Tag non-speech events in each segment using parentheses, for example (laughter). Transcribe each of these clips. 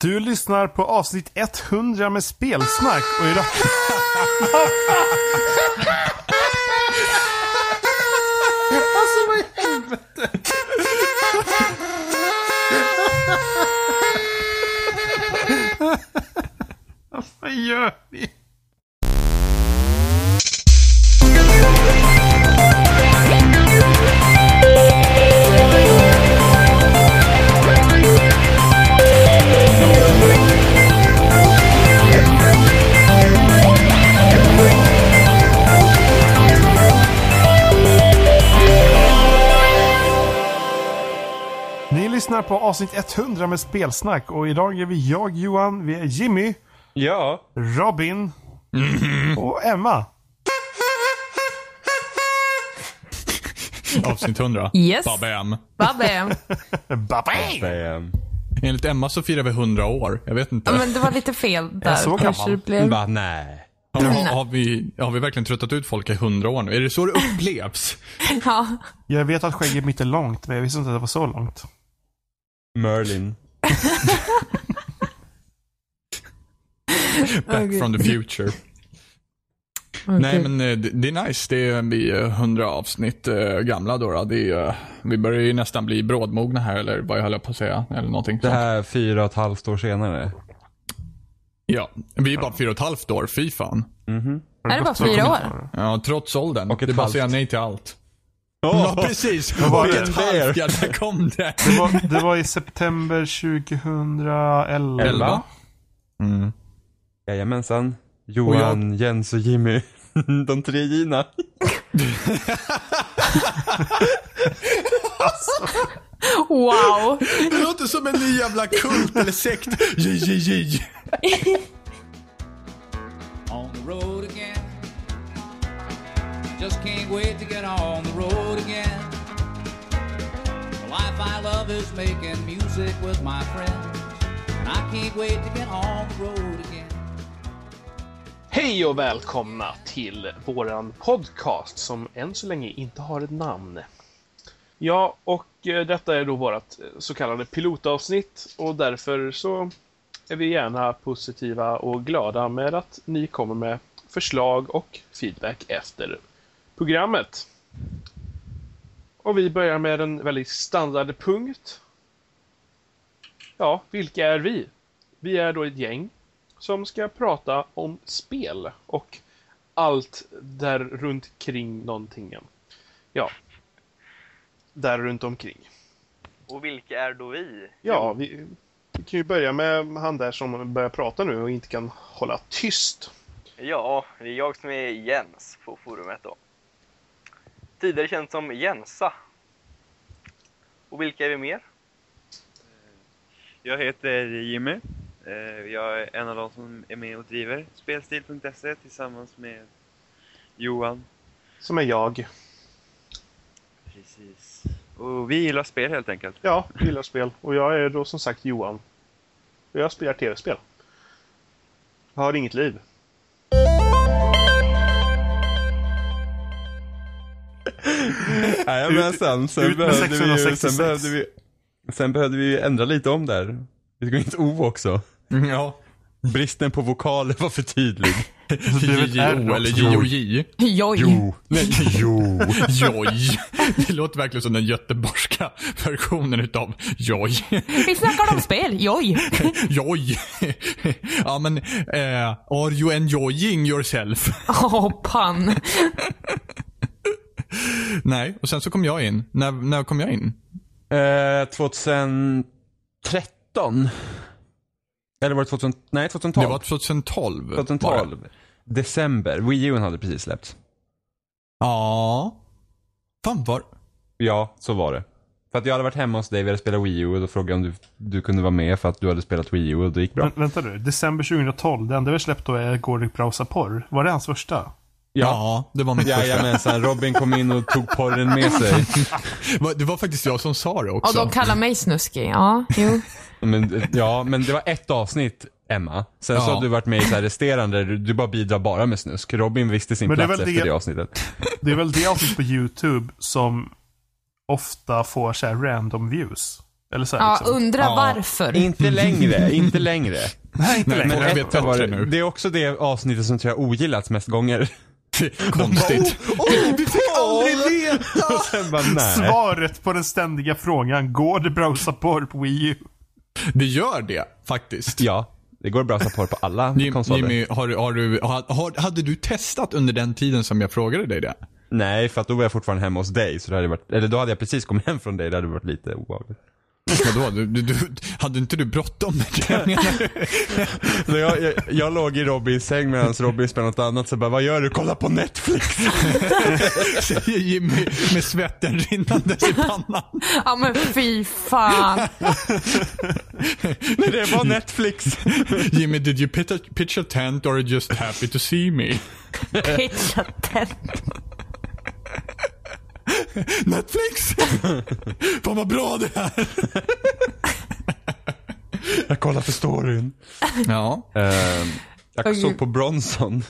Du lyssnar på avsnitt 100 med spelsnack och idag... Alltså vad i helvete? Vad gör ni? Ni lyssnar på avsnitt 100 med spelsnack och idag är vi jag Johan, vi är Jimmy, Ja. Robin Mm-hmm. och Emma. Avsnitt 100. Yes. Babben. Babben. Babang! Bam. Enligt Emma så firar vi 100 år. Jag vet inte. Ja, men det var lite fel där. så gammal. Kanske det blev... Bara nej. Har, har, har, vi, har vi verkligen tröttat ut folk i 100 år nu? Är det så det upplevs? Ja. Jag vet att skägget mitt är långt, men jag visste inte att det var så långt. Merlin. Back from the future. Nej, men eh, det, det är nice. Det är, vi är 100 avsnitt eh, gamla då. då. Det är, eh, vi börjar ju nästan bli brådmogna här, eller vad jag höll på att säga. Eller någonting Det sånt. här är fyra och ett halvt år senare. Ja, vi är bara fyra och ett halvt år. Fy fan. Är det bara fyra år? Ja, trots åldern. Och ett det är bara att halvt. säga nej till allt. Ja, precis. var (laughs) Och det? ett halvt, ja, där kom det. Det var, det var i september 2011. Elva. Mm. Jajamensan. Johan, Jens och Jimmy. (laughs) De tre Gina. Wow. Det låter som en ny jävla kult eller sekt. J, j, j. on the road again. Just can't wait to get on the road again. The life I love is making music with my friends, and I can't wait to get on the road again. Hej och välkomna till våran podcast som än så länge inte har ett namn. Ja, och eh, detta är då vårat eh, så kallade pilotavsnitt och därför så är vi gärna positiva och glada med att ni kommer med förslag och feedback efter programmet. Och vi börjar med en väldigt standardpunkt. Ja, vilka är vi? Vi är då ett gäng som ska prata om spel och allt där runt kring någonting. Ja, där runt omkring. Och vilka är då vi? Ja, vi, vi kan ju börja med han där som börjar prata nu och inte kan hålla tyst. Ja, det är jag som är Jens på forumet då. Tidigare känd som Jensa. Och vilka är vi mer? Jag heter Jimmy. Eh, Jag är en av de som är med och driver spelstil.se tillsammans med Johan. Som är jag. Precis. Och vi gillar spel helt enkelt. Ja, gillar spel. Och jag är då som sagt Johan. Och jag spelar tv-spel. Jag har inget liv. Jajamensan. Sen, ut med behövde vi ju- 666. sen behövde vi Sen behövde vi ju ändra lite om där. Vi ska gå in till O också. Ja. Bristen på vokaler var för tydlig. blev ett R J-J-O också. eller J-O-J. Joj. Nej, (laughs) Jo. Joj. Det låter verkligen som den göteborgska versionen utav joj. (laughs) Vi snackar om spel. Joj. Joj. Ja men, eh, are you enjoying yourself? Åh, pan. Nej, och sen så kom jag in. När, när kom jag in? Eh, 2013? Eller var det 2000? Nej, 2012. Det var 2012. var det. 2012. December. Wii U hade precis släppts. Ja. Fan var... Ja, så var det. För att jag hade varit hemma hos dig, vi hade spelat Wii U och då frågade jag om du, du kunde vara med för att du hade spelat Wii U och det gick bra. Men, vänta nu, december 2012. Det enda vi släppt då är Går det brausa porr. Var det hans första? Ja, det var mitt första. Jajamensan, Robin kom in och tog porren (laughs) med sig. Va- Det var faktiskt jag som sa det Och också. de kallar mig snuskig. Ja, jo. Men, ja, men det var ett avsnitt, Emma. Sen så Ja. har du varit med i så här resterande, du, du bara bidrar bara med snusk. Robin visste sin Men det är plats väl efter det- det avsnittet. Det är väl det avsnitt på YouTube som ofta får så här random views. Eller så här, Ja, liksom. undra Ja. varför. Inte längre, inte längre. (laughs) Nej, inte Nej, längre. jag Och vet ett var bättre det- nu. Det är också det avsnittet som tror jag ogillats mest gånger. Konstigt. du (laughs) fick aldrig veta! (laughs) Och sen bara nej. Svaret på den ständiga frågan, går det browsa porr på Wii U? Det gör det faktiskt. Ja, det går bra att på på alla Jim, konsoler. Jimmy, har, du- har du, har, har, hade du testat under den tiden som jag frågade dig det? Nej, för att då var jag fortfarande hemma hos dig. Så det hade varit, eller då hade jag precis kommit hem från dig. Det hade varit lite obehagligt. Vadå? Du, du, du, hade inte du bråttom med det? menar (laughs) du? Så jag, jag, jag låg i Robbys säng medan Robby spelade något annat. Så bara, vad gör du? Kolla på Netflix! (laughs) Säger Jimmy med svetten rinnandes i pannan. Ja men fy fan. Nej, det var (laughs) Netflix! Jimmy, did you pitch a, pitch a tent or are you just happy to see me? Pitcha tent. (laughs) Netflix! Fan vad bra det här! Jag kollar för storyn. Ja, Ehm, Åh, jag såg gud. på Bronson.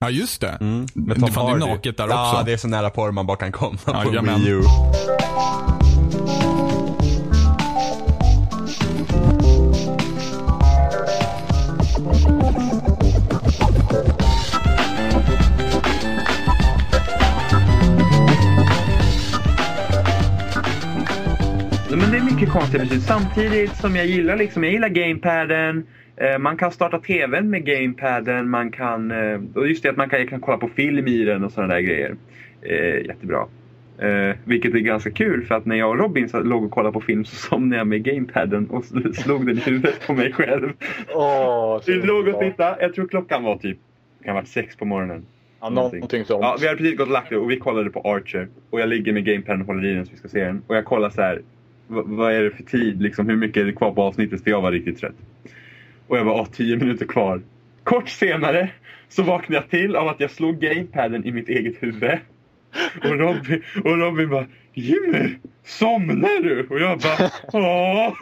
ja just det. Med Det fan, det är naket där också. Ja, det är så nära porr man bara kan komma på Jajamän. Wii U. Men det är mycket konstiga beslut. Samtidigt som jag gillar liksom, jag gillar gamepaden. Eh, man kan starta tvn med gamepaden. Man kan, eh, och just det att man kan, jag kan kolla på film i den och sådana där grejer. Eh, jättebra. Eh, vilket är ganska kul för att när jag och Robin satt- låg och kollade på film så somnade jag med gamepaden och (laughs) slog den i huvudet på mig själv. Åh, så Vi låg och underbart. tittade. Jag tror klockan var typ, kan ha varit sex på morgonen. Ja, någonting sånt. Ja, vi hade precis gått och lagt det och vi kollade på Archer. Och jag ligger med gamepaden och håller i den så vi ska se den. Och jag kollar så här. "Va- Vad är det för tid? Liksom, hur mycket är det kvar på avsnittet? För jag var riktigt trött. Och jag bara, åh, tio minuter kvar. Kort senare så vaknade jag till av att jag slog gamepaden i mitt eget huvud. Och Robin, och Robin bara, Jimmy, somnar du? Och jag bara, åh.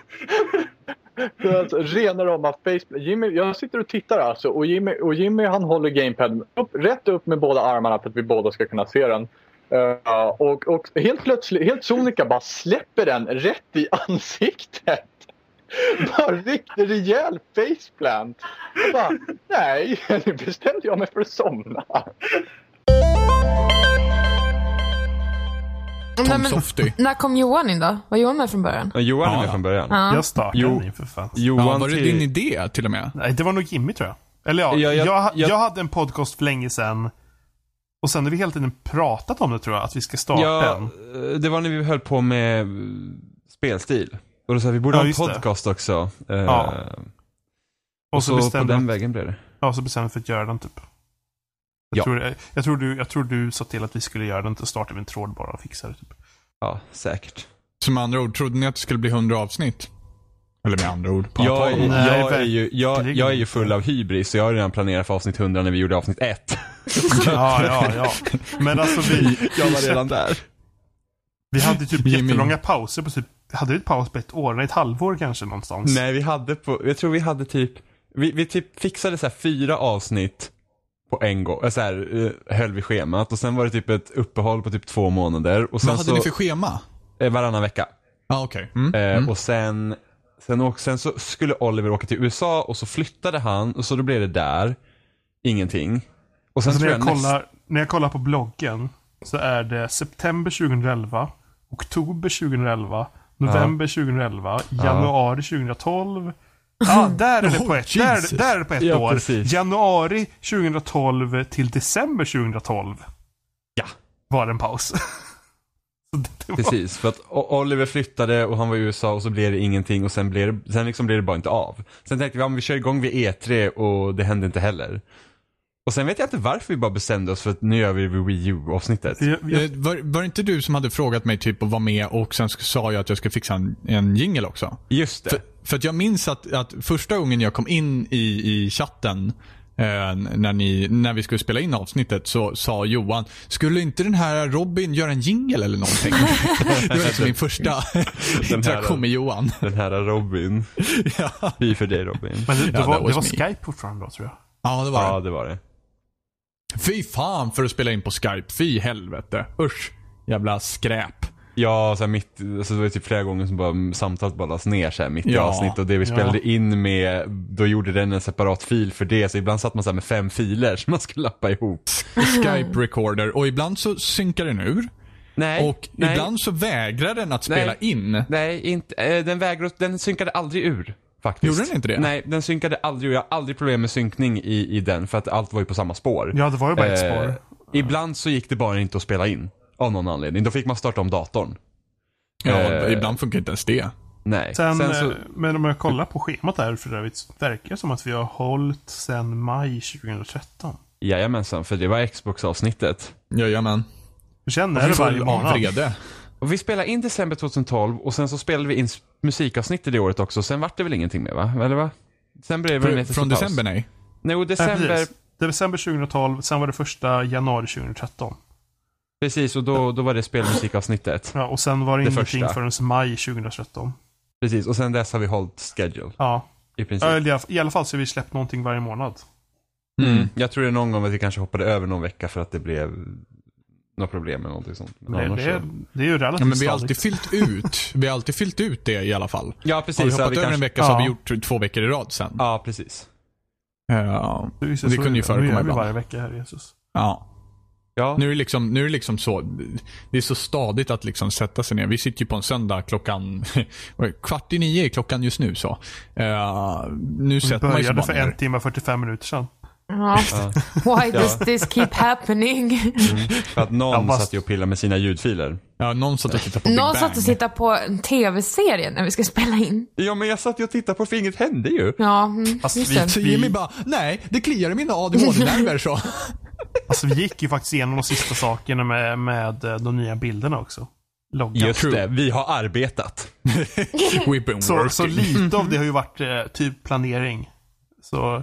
Det är alltså rena rama Facebook. Jimmy, jag sitter och tittar alltså och Jimmy, och Jimmy han håller gamepaden upp, rätt upp med båda armarna för att vi båda ska kunna se den. Eh, och, och helt plötsligt, helt sonika bara släpper den rätt i ansiktet. (laughs) Bara riktigt rejäl faceplant. Jag bara, nej, (laughs) nu bestämde jag mig för att somna. Nej, Tom men, Softy. när kom Johan in då? Var Johan med från början? Ja, Johan Ja, är med ja. från början. Ja. Jag startade Jo. den ju för fan. Johan Ja, var det till- din idé till och med? Nej, det var nog Jimmy tror jag. Eller ja, Ja, jag, jag- jag, jag- hade en podcast för länge sedan. Och sen har vi hela tiden pratat om det tror jag, att vi ska starta Ja, en. eh, det var när vi höll på med eh, spelstil. Och då sa vi, vi borde Ja, ha en just det. podcast också. Eh, Ja. Och så, så på bestämde den vägen blev det. ja, så bestämde vi för att göra den typ. Jag, Ja. tror, jag, tror du, jag tror du sa till att vi skulle göra den, så startade vi en tråd bara och fixade det. Typ. Ja, säkert. Som andra ord, trodde ni att det skulle bli 100 avsnitt? Eller med andra ord, på Jag, jag... Nej, jag, är verkligen ju, jag, jag är ju full av hybris, så jag har redan planerat för avsnitt 100 när vi gjorde avsnitt 1. (laughs) Ja, ja, ja. Men alltså vi, Jag var redan där. vi hade typ Jimmy. jättelånga pauser på typ, hade vi ett paus på ett år? Nej, ett halvår kanske någonstans. Nej, vi hade på, jag tror vi hade typ, vi, vi typ fixade så här fyra avsnitt på en gång. Eh, Så här, eh, höll vi schemat och sen var det typ ett uppehåll på typ två månader. Och sen Vad hade så, ni för schema? eh, varannan vecka. Ja, okej. Mm. Eh, Och sen, sen, och sen så skulle Oliver åka till USA och så flyttade han och så då blev det där ingenting. Och sen Alltså, när, jag tror jag, näst, kollar, när jag kollar på bloggen så är det september 2011, oktober 2011, november 2011, januari 2012. Ja, där är det på ett, där, är det- där är det på ett Ja, år. precis. Januari 2012 till december 2012. Ja. Var det en paus. (laughs) så det, det var, precis, för att O- Oliver flyttade och han var i USA och så blev det ingenting och sen blev det, sen liksom blev det bara inte av. Sen tänkte vi, ja men vi kör igång vid E3 och det hände inte heller. Och sen vet jag inte varför vi bara bestämde oss för att nu gör vi det vid Wii U-avsnittet. jag, jag, Eh, Var, var det inte du som hade frågat mig typ att vara med och sen sk- sa jag att jag ska fixa en, en jingle också? Just det. För, för att jag minns att, att första gången jag kom in i, i chatten eh, när, ni, när vi skulle spela in avsnittet så sa Johan, skulle inte den här Robin göra en jingle eller någonting? det var liksom min första interaktion med Johan. Den (laughs) här Robin. ja. Vi för dig Robin. men det, det Ja, var, that was det var me. Skype fortfarande då tror jag. ja, det var Ja, det. det var det. Fy fan för att spela in på Skype, fy helvete. Usch, jävla skräp. Ja, så här mitt, alltså det var typ flera gånger som bara samtalet bara lades ner så här mitt i Ja. avsnitt och det vi Ja. spelade in med, då gjorde den en separat fil för det, så ibland satt man så här med fem filer som man skulle lappa ihop. Skype recorder och ibland så synkar den ur. Nej, och nej. ibland så vägrar den att spela Nej. in. Nej, inte, eh, den vägrade, den synkade aldrig ur. Faktiskt. Gjorde den inte det? Nej, den synkade aldrig ur. Jag har aldrig problem med synkning i, i den för att allt var ju på samma spår. Ja, det var ju bara ett Eh, spår. Ibland så gick det bara inte att spela in. Av någon anledning. Då fick man starta om datorn. Ja, Eh, ibland funkar inte ens det. Nej. Sen, så, eh, Men om jag kollar på schemat där för övrigt. Verkar det som att vi har hållit sedan maj 2013. jajamensan, för det var Xbox-avsnittet. Jajamän. Jag känner Vi det får varje av månad. vrede. Och vi spelade in december 2012 och sen så spelade vi in s- musikavsnittet det året också. Sen vart det väl ingenting mer va? Eller va? December är väl en Fr- jättestor Från paus. december nej. Nej, och december. Nej, precis. precis. Det är december 2012, sen var det första januari 2013. och då, då var det spelmusikavsnittet. Ja, och sen var det, Det ingenting första. förrän maj 2013. Precis, och sen dess har vi hållit schedule. Ja, I princip. Eller i alla- i alla fall så har vi släppt någonting varje månad. Mm. Jag tror det är någon gång att vi kanske hoppade över någon vecka för att det blev några problem eller någonting sånt. Men Det, annars det, är, så- det är ju relativt Ja, men vi har alltid stadigt. fyllt ut. Vi har alltid fyllt ut det i alla fall. Ja, Har vi precis. så hoppat vi över en kanske- vecka så har vi Ja. gjort två veckor i rad sen. Ja, precis. Ja. Det är ju så- Det så kunde ju är Nu förekomma gör vi ibland. varje vecka, herre Jesus. ja. Ja, Nu är, det liksom, nu är det liksom så, det är så stadigt att liksom sätta sig ner. Vi sitter ju på en söndag klockan, (laughs) vad är det? kvart i nio är klockan just nu så. Eh, nu Vi sätter man ju sig började bara för ner. en timme och 45 minuter sedan. Ja. Why does Ja. this keep happening? för att någon Ja, fast- satt ju och pillade med sina ljudfiler. Ja, någon satt och tittade på Big Någon Bang. satt och tittade på en tv-serie när vi ska spela in. Ja, men jag satt ju och tittade på för inget hände ju. Ja, mm, Fast just vi- det. Så Jimmy bara, nej, det kliar i mina ADHD-nerver så. Alltså vi gick ju faktiskt igenom de sista sakerna med, med eh, de nya bilderna också. Loggan. (laughs) Just det, vi har arbetat. (laughs) We've been Så, working. så lite av det har ju varit eh, typ planering. Så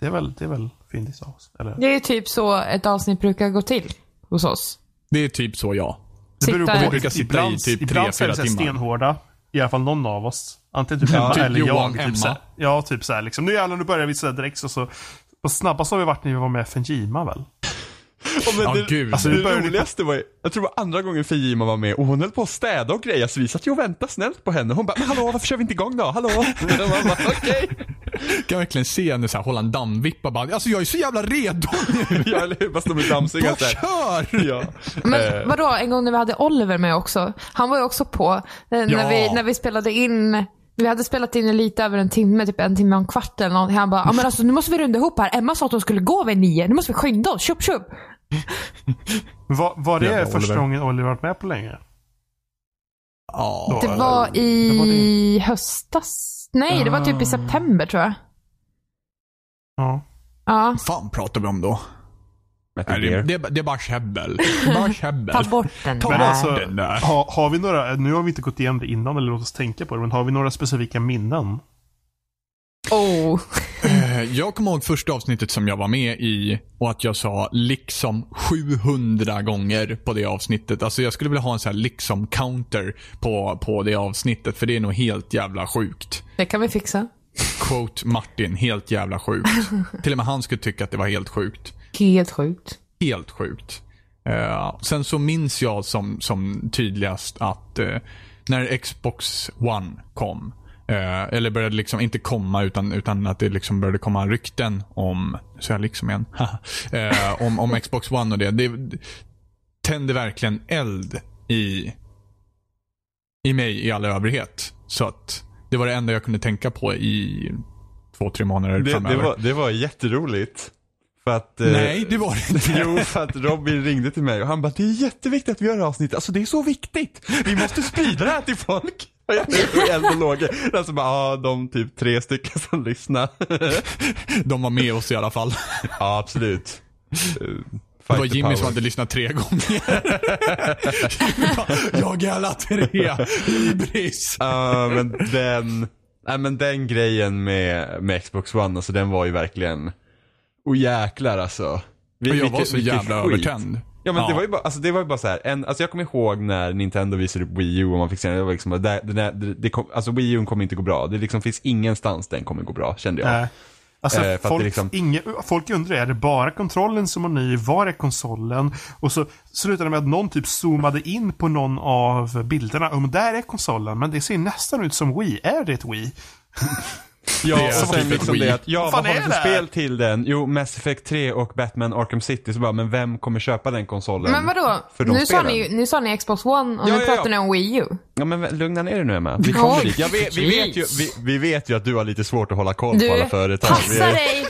det är väl, det är väl fint av oss. Eller? Det är typ så ett avsnitt brukar gå till hos oss. det är typ så ja. Det beror Sitta- på. Vi brukar sitta i ibland, typ tre, ibland så är det fyra så här timmar. stenhårda. I alla fall någon av oss. Antingen typ Ja, Emma typ eller Johan, jag. Emma. Typ så här, ja, typ så här liksom. Nu jävlar, nu börjar vi så här direkt. Så, så, och snabbast har vi varit när vi var med Fenjima väl? Oh, men Ja, det, gud. det vi började- roligaste var ju- jag tror det var andra gången Fijima var med och hon höll på att städa och greja så vi satt ju och väntade snällt på henne. Hon bara, "Men hallå varför kör vi inte igång då? Hallå? Och jag bara, Okej. Kan verkligen se henne så här, hålla en dammvippa bara, alltså jag är så jävla redo nu. (laughs) (laughs) Ja, eller hur? Bara stå med dammsugaren Bara såhär. kör! Ja. Eh. Men vadå, en gång när vi hade Oliver med också. Han var ju också på. eh, När, vi, när vi spelade in. Vi hade spelat in lite över en timme, typ en timme och en kvart eller någonting. Han bara, ja men alltså nu måste vi runda ihop här. Emma sa att hon skulle gå vid nio. Nu måste vi skynda oss. Tjup, tjup. Var, var det Jävla första Oliver. gången Oliver varit med på länge? Ja. Det var Det var i höstas. Nej, det var typ i Ah. september tror jag. Ja. Ja, fan pratar vi om då? Nej, det, det, det är bara käbbel. Det är Bara käbbel. ta bort den Ta där. Men alltså, den där. har, har vi några, nu har vi inte gått igenom det innan eller låt oss tänka på det, men har vi några specifika minnen? Oh. Eh, Jag kommer ihåg första avsnittet som jag var med i och att jag sa liksom 700 gånger på det avsnittet. Alltså jag skulle vilja ha en sån här liksom-counter på, på det avsnittet för det är nog helt jävla sjukt. Det kan vi fixa. Quote Martin, helt jävla sjukt. Till och med han skulle tycka att det var helt sjukt. Helt sjukt. helt sjukt. Eh, sen så minns jag som, som tydligast att eh, när Xbox One kom, eh, eller började liksom inte komma utan, utan att det liksom började komma rykten om, så jag liksom igen, Eh, om, om Xbox One och det. Det tände verkligen eld i, i mig i all övrighet. Så att det var det enda jag kunde tänka på i två, tre månader Det, framöver. det, var, det var jätteroligt. För att, eh, Nej, det var det inte. (laughs) Jo, för att Robin ringde till mig och han bara, det är jätteviktigt att vi gör det här avsnittet. Alltså det är så viktigt. Vi måste sprida det här till folk. (laughs) Och jag tog eld och låg. Alltså bara, ah, de typ tre stycken som lyssnar. De var med oss i alla fall. Ja, absolut. Eh, (laughs) Det fight var the Jimmy som power. hade lyssnat tre gånger. (laughs) Jimmy bara, jag är alla tre. Hybris. Ja, men den, nej men den grejen med, med Xbox One, alltså den var ju verkligen, oh jäklar alltså. Vi, Och jag var så jävla övertänd. Ja men det Ja. var ju bara, alltså det var ju bara så här, en, alltså jag kommer ihåg när Nintendo visade upp Wii U och man fick se den, det var liksom, bara, där, den där, det, det kom, alltså Wii U kommer inte gå bra. Det liksom finns ingenstans den kommer gå bra, kände jag. Nej. Alltså, Eh, för att det folk, liksom- ingen, folk undrar, är det bara kontrollen som var ny? Var är konsolen? Och så slutade det med att någon typ zoomade in på någon av bilderna. Ja, men där är konsolen, men det ser nästan ut som Wii. Är det ett Wii? Ja, är och typ sen ett liksom Wii. det att, ja Vad fan vad har är vi för det här? spel till den? Jo, Mass Effect 3 och Batman Arkham City. Så bara, men vem kommer köpa den konsolen? Men vadå? För de Nu sa, spelen? ni, nu sa ni Xbox One och Ja, nu ja, ja. pratar ni om Wii U. Ja men vä- lugna ner er nu Emma. Vi kommer Oj, dit. Ja, vi, vi, vet ju, vi, vi vet ju att du har lite svårt att hålla koll på alla Du, företag. Vi- passa dig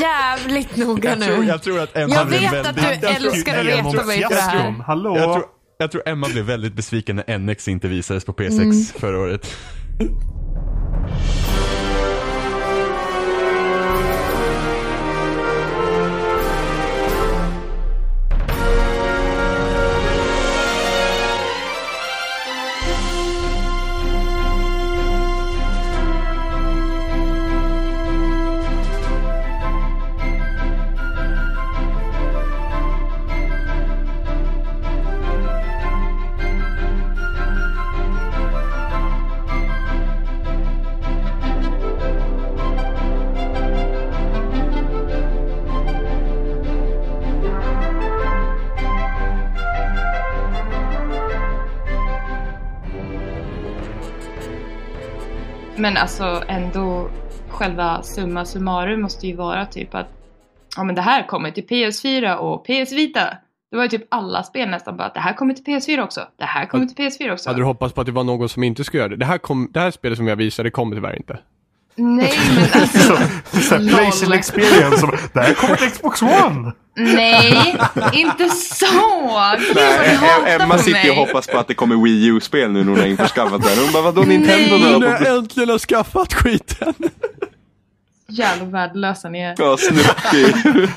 jävligt noga jag, tror, nu. jag tror att Emma Jag blev vet att väldigt... du jag, tror, älskar att Nej, reta mig på det här. fiaskon. Hallå? jag, tror, jag tror Emma blev väldigt besviken när NX inte visades på P6 Mm. förra året. Men alltså ändå själva summa summarum måste ju vara typ att ja men det här kommer till PS4 och PS Vita. Det var ju typ alla spel nästan bara att det här kommer till PS4 också. Det här kommer till PS4 också. Hade du hoppats på att det var någon som inte skulle göra det? Det här, kom, det här spelet som jag visade kommer tyvärr inte. Nej men alltså. Lol. Playstation experience. Som, det här kommer till Xbox One! Nej, inte så! Gud vad ni Nej, hatar Emma på sitter ju mig. och hoppas på att det kommer Wii U-spel nu när hon har införskaffat den. Hon bara, vadå Nintendo då? När jag äntligen har skaffat skiten! Jävla värdelösa ni är. Ja, Snuppy.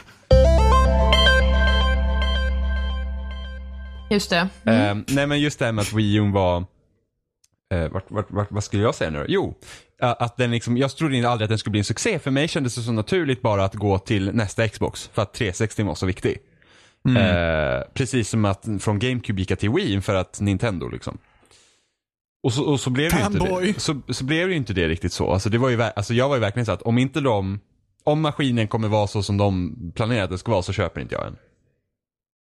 Just det. Ehm, nej men just det här med att Wii U var, eh, vart, vart, vart, vad skulle jag säga nu då? Jo, eh, att den liksom, jag trodde inte aldrig att den skulle bli en succé. För mig kändes det så naturligt bara att gå till nästa Xbox för att 360 var så viktig. Eh, precis som att från GameCube gick jag till Wii för att Nintendo liksom. Och så, och så blev det ju inte Fanboy. det. Så, så blev det ju inte det riktigt så. Alltså, det var ju, ver- alltså jag var ju verkligen så att om inte de, om maskinen kommer vara så som de planerat att den ska vara så köper inte jag en.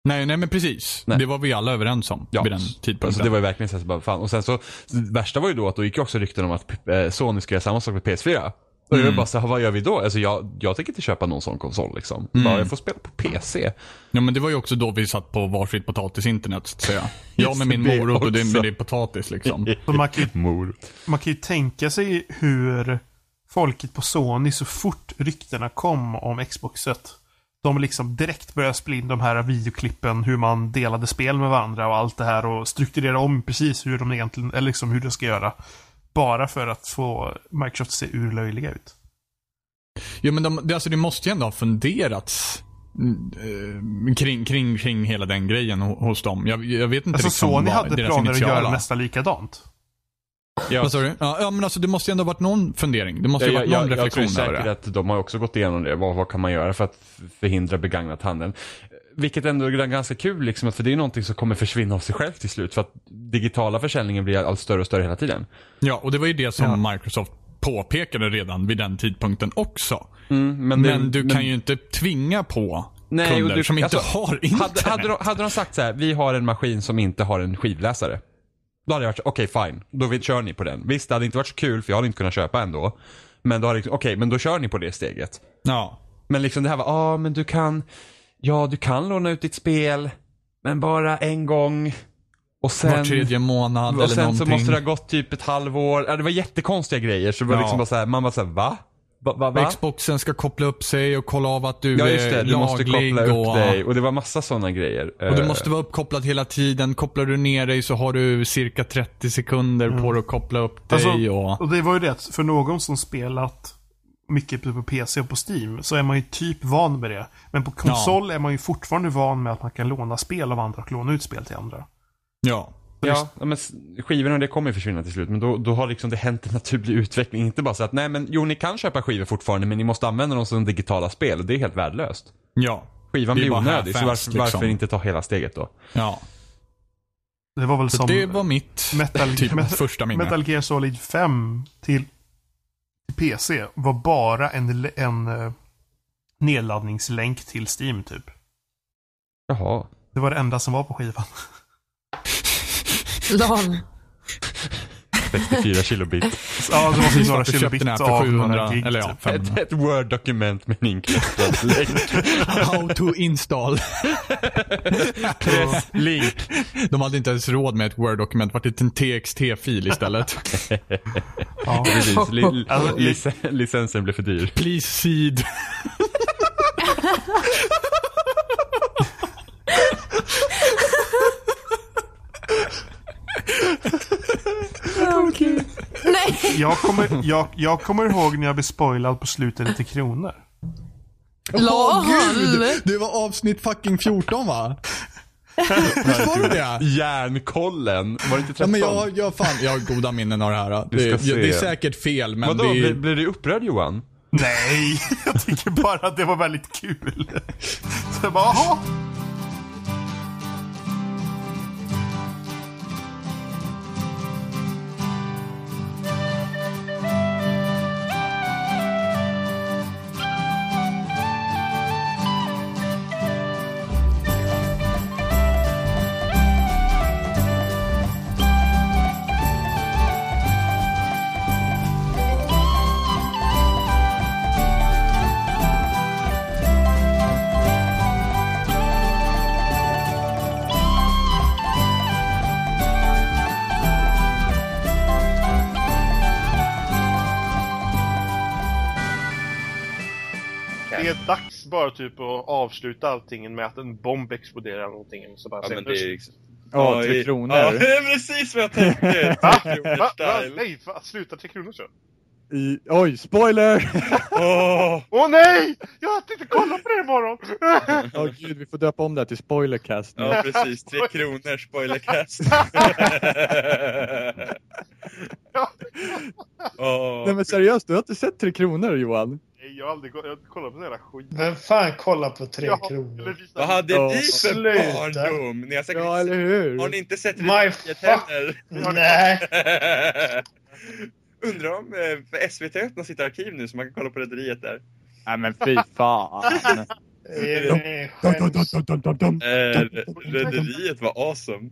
Nej, nej men precis. Nej. Det var vi alla överens om vid den tidpunkten. Alltså det var ju verkligen så här, så bara, fan. Och sen så, det värsta var ju då att då gick ju också rykten om att eh, Sony skulle göra samma sak med PS4. Och Mm. jag var bara så här, vad gör vi då? Alltså jag, jag tänker inte köpa någon sån konsol liksom. Mm. Bara, jag får spela på PC. Ja, men det var ju också då vi satt på varsitt potatisinternet så att säga. Jag med min det morot och du också. med din (laughs) potatis liksom. Så man kan ju Mor. man kan ju tänka sig hur folket på Sony så fort ryktena kom om Xboxet. De liksom direkt började spela in de här videoklippen hur man delade spel med varandra och allt det här och strukturera om precis hur de egentligen, eller liksom hur de ska göra. Bara för att få Microsoft att se urlöjliga ut. Ja, men de, det- alltså, det måste ju ändå ha funderats mm, eh, kring, kring, kring hela den grejen ho- hos dem. Jag, jag vet inte Alltså liksom Sony vad hade deras planer att initiala- göra nästan likadant. Vad sa du? Ja, ja, men alltså det måste ju ändå ha varit någon fundering. Det måste Jag, ju ha jag, varit någon jag, jag tror reflektion över säkert det. att de har också gått igenom det. Vad, vad kan man göra för att förhindra begagnat handeln? Vilket ändå är ganska kul liksom, för det är någonting som kommer försvinna av sig själv till slut. För att digitala försäljningen blir allt större och större hela tiden. Ja, och det var ju det som Microsoft påpekade redan vid den tidpunkten också. Men, det- Men du kan ju inte tvinga på Nej, och kunder du- som inte alltså, har internet. Hade, hade, de, hade de sagt så här, vi har en maskin som inte har en skivläsare. Då hade jag varit så, okej fine, då vi- kör ni på den. Visst, det hade inte varit så kul för jag hade inte kunnat köpa en då. Men då hade jag liksom, okej, men då kör ni på det steget. Ja. Men liksom det här var, ja ah, men du kan, ja du kan låna ut ditt spel, men bara en gång. Och sen, Var tredje månad och eller sen någonting. så måste det ha gått typ ett halvår. Ja, det var jättekonstiga grejer. Så det var Ja. liksom bara så här, man var så här, va? Va, va, va? Xboxen ska koppla upp sig och kolla av att du Ja just är det, du laglig måste koppla upp och, dig. Och det var massa sådana grejer. och du Eh, måste vara uppkopplad hela tiden. Kopplar du ner dig så har du cirka 30 sekunder på dig att koppla upp dig. Alltså, och... Och det var ju det, att för någon som spelat mycket på PC och på Steam så är man ju typ van med det. Men på konsol är man ju fortfarande van med att man kan låna spel av andra och låna ut spel till andra. Ja. Ja, ja, men s- skivorna och det kommer ju försvinna till slut. Men då, då har liksom det hänt en naturlig utveckling. Inte bara så att nej men jo ni kan köpa skivor fortfarande men ni måste använda dem som digitala spel och det är helt värdelöst. ja. Skivan Det är blir bara onödig så half-assed, varför, liksom. varför inte ta hela steget då? ja. Det var väl Så som det var mitt Metal, typ, Metal, första minne. Metal Gear Solid 5 till till PC var bara en, en eh, nedladdningslänk till Steam typ. Jaha. Det var det enda som var på skivan. LOL. 64 (laughs) kilobit. Ja, det måste ju några Du köpte kilobit den här för av några gig, eller ja, typ. 500. (laughs) Ett, ett Word-dokument med en inklistrad länk. How to install. Press link. De hade inte ens råd med ett Word-dokument. Vart det en TXT-fil istället? Ja, precis. Li, Alltså, licen, licensen blev för dyr. Please seed. Nej. Jag kommer, jag, jag kommer ihåg när jag blev spoilad på slutet lite kronor. Åh gud! Det var avsnitt fucking 14 va? Visst var det det? Järnkollen. Var det inte 13? Ja, men jag, jag, fan, jag har goda minnen av det här. Du ska Det, jag, det är se. säkert fel, men Vadå, det blir, är... blir du upprörd Johan? Nej, (laughs) jag tycker bara att det var väldigt kul. Så jag bara, jaha. Det är dags bara typ att avsluta allting med att en bomb exploderar eller någonting. Så bara Ja, säger, men det är liksom- ju- Ja, Tre i- Kronor. ja, det är precis vad jag tänkte! Va? Tre Kronor Va? Va? style. Nej, va? sluta Tre Kronor så. I, oj, (laughs) spoiler! Åh nej! Jag tänkte kolla på det imorgon! Åh gud, vi får döpa om det här till spoilercast nu. Ja precis, Tre (laughs) Kronor spoilercast. Nej men seriöst, du har inte sett Tre Kronor Johan? Nej, jag har aldrig ko- jag har inte kollat på den jävla skit. Vem fan kollar på Tre Kronor? Vad hade Ja. ni för Sluta. barndom? Ni har, säkert... Ja, eller hur? har ni inte sett My Riket heller? Nej. (laughs) Undrar om eh, för SVT har öppnat sitt arkiv nu så man kan kolla på Rederiet där. Nej men fy fan. Eh, Eh, Rederiet var awesome.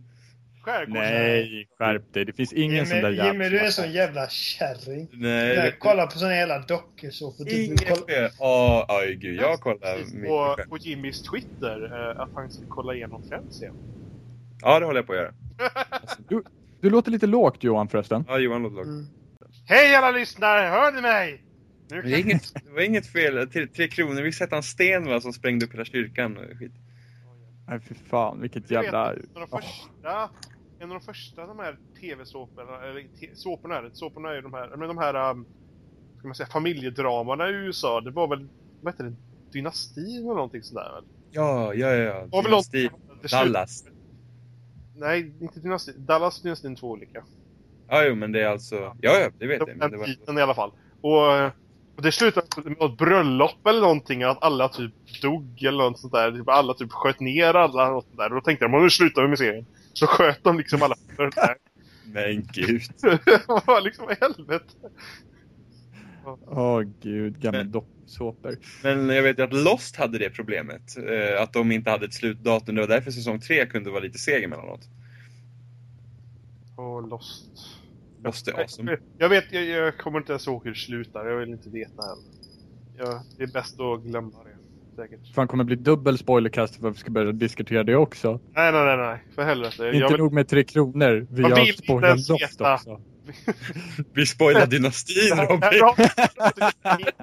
Nej, skärp dig. Det finns ingen sån där Jimmy, jävel som Jimmy, du har- är sån jävla kärring. Nej, Nej, det- kolla på såna jävla dokusåpor. Du- du Inget kollar- fel. Ja, oj gud, jag kollar. mycket På, själv. på Jimmys Twitter, eh, att han ska kolla igenom Friends igen. Ja, det håller jag på att göra. Du låter lite lågt Johan förresten. Ja, Johan låter lågt. Hej alla lyssnare, hör ni mig? Nu Det, är inget, det var inget fel. Tre, tre Kronor, vi sätta en sten va, som sprängde upp hela kyrkan och skit. Nej fy fan, vilket Jag vet jävla... inte, en av de första, en av de första de här tv-såporna, eller te- såporna är det, såporna är ju de här, men de här, um, ska man säga, familjedramana i USA, det var väl, vad heter det, dynastin eller någonting sådär väl? Ja, ja, ja. Och väl något- Dynasti. Det slut- Dallas. Nej, inte dynastin, Dallas och dynastin två olika. Ja, jo, men det är alltså... Ja, ja, det vet jag. Men det Den var... titeln i alla fall. Och, eh, och det slutade med något bröllop eller någonting, att alla typ dog eller något sånt där, typ, alla typ sköt ner alla, något sånt där, och då tänkte de, "Åh, nu slutar vi med serien. Så sköt de liksom alla. Men gud. (laughs) Vad var liksom helvete? Åh gud, gamla dokusåpor. Men jag vet ju att Lost hade det problemet. Eh, att de inte hade ett slutdatum. Det var därför säsong tre kunde vara lite seg emellanåt. Och Lost. Lost är awesome. Jag- Jag vet, jag, jag kommer inte ens ihåg hur det slutar. Jag vill inte veta heller. Ja, det är bäst att glömma det. Säkert. Fan kommer bli dubbel spoilercast för att vi ska börja diskutera det också. Nej, nej, nej, nej. För helvete. inte Jag vill... nog med Tre Kronor, vi Jag vill har inte spoilat ens Lost veta. också. Vi (laughs) spoilar dynastin, Robin.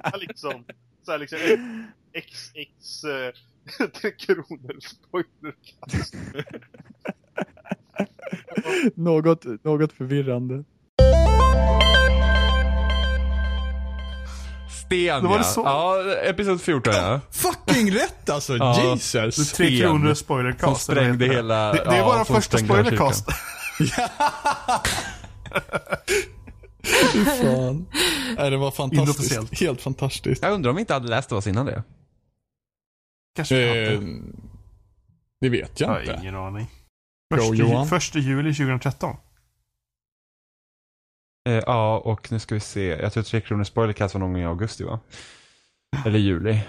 Ja, liksom. Så här liksom. XX... eh, (laughs) Tre kronor spoiler. något, något förvirrande. Sten Det var ja. det så. ja, episod 14 ja. Fucking rätt alltså! Ja, Jesus! Tre Kronor spoilercast, eller Som vad sprängde heter det? hela... Det- det är ja, vår som första sprängde hela spoilercast. (laughs) kyrkan. Fy fan. Nej, det var Inofficiellt. fantastiskt. Helt fantastiskt. Jag undrar om vi inte hade läst oss innan det. Eh, det vet jag inte. Jag har ingen aning. Bro, Första, ju, Johan. första juli 2013. Eh, ja, och nu ska vi se. Jag tror 3 kronor spoilercast var någon gång i augusti va? Eller juli.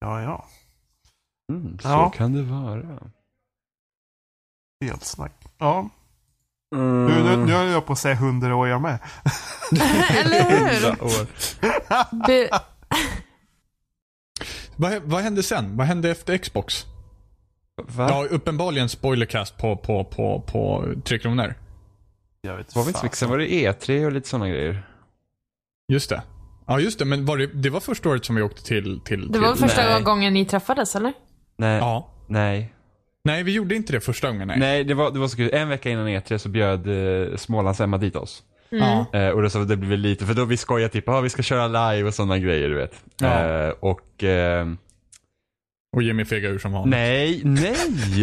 Ja, ja. Mm, så Ja. kan det vara. Helt snack. Ja. Nu, Mm. nu, nu höll jag på att säga hundra år jag med. Eller hur? år. Det, Vad, vad hände sen? Vad hände efter Xbox? Va? Ja, uppenbarligen spoilercast på, på, på, på Tre Kronor. Jag vet Var vi inte så mycket, sen var det E3 och lite sådana grejer. Just det. Ja, just det. Men var det, det var första året som vi åkte till... till det var väl till, första Nej. gången ni träffades eller? Nej. Ja. Nej. Nej, vi gjorde inte det första gången. Nej, Nej, det var, det var så kul. En vecka innan E3 så bjöd eh, Smålands-Emma dit oss. Mm. Ja. Eh, och då så, det blev lite, för då vi skojade typ, ah, vi ska köra live och sådana grejer du vet. Ja. Eh, och... ehm, Och Jimmy fegade ur som vanligt. Nej, nej!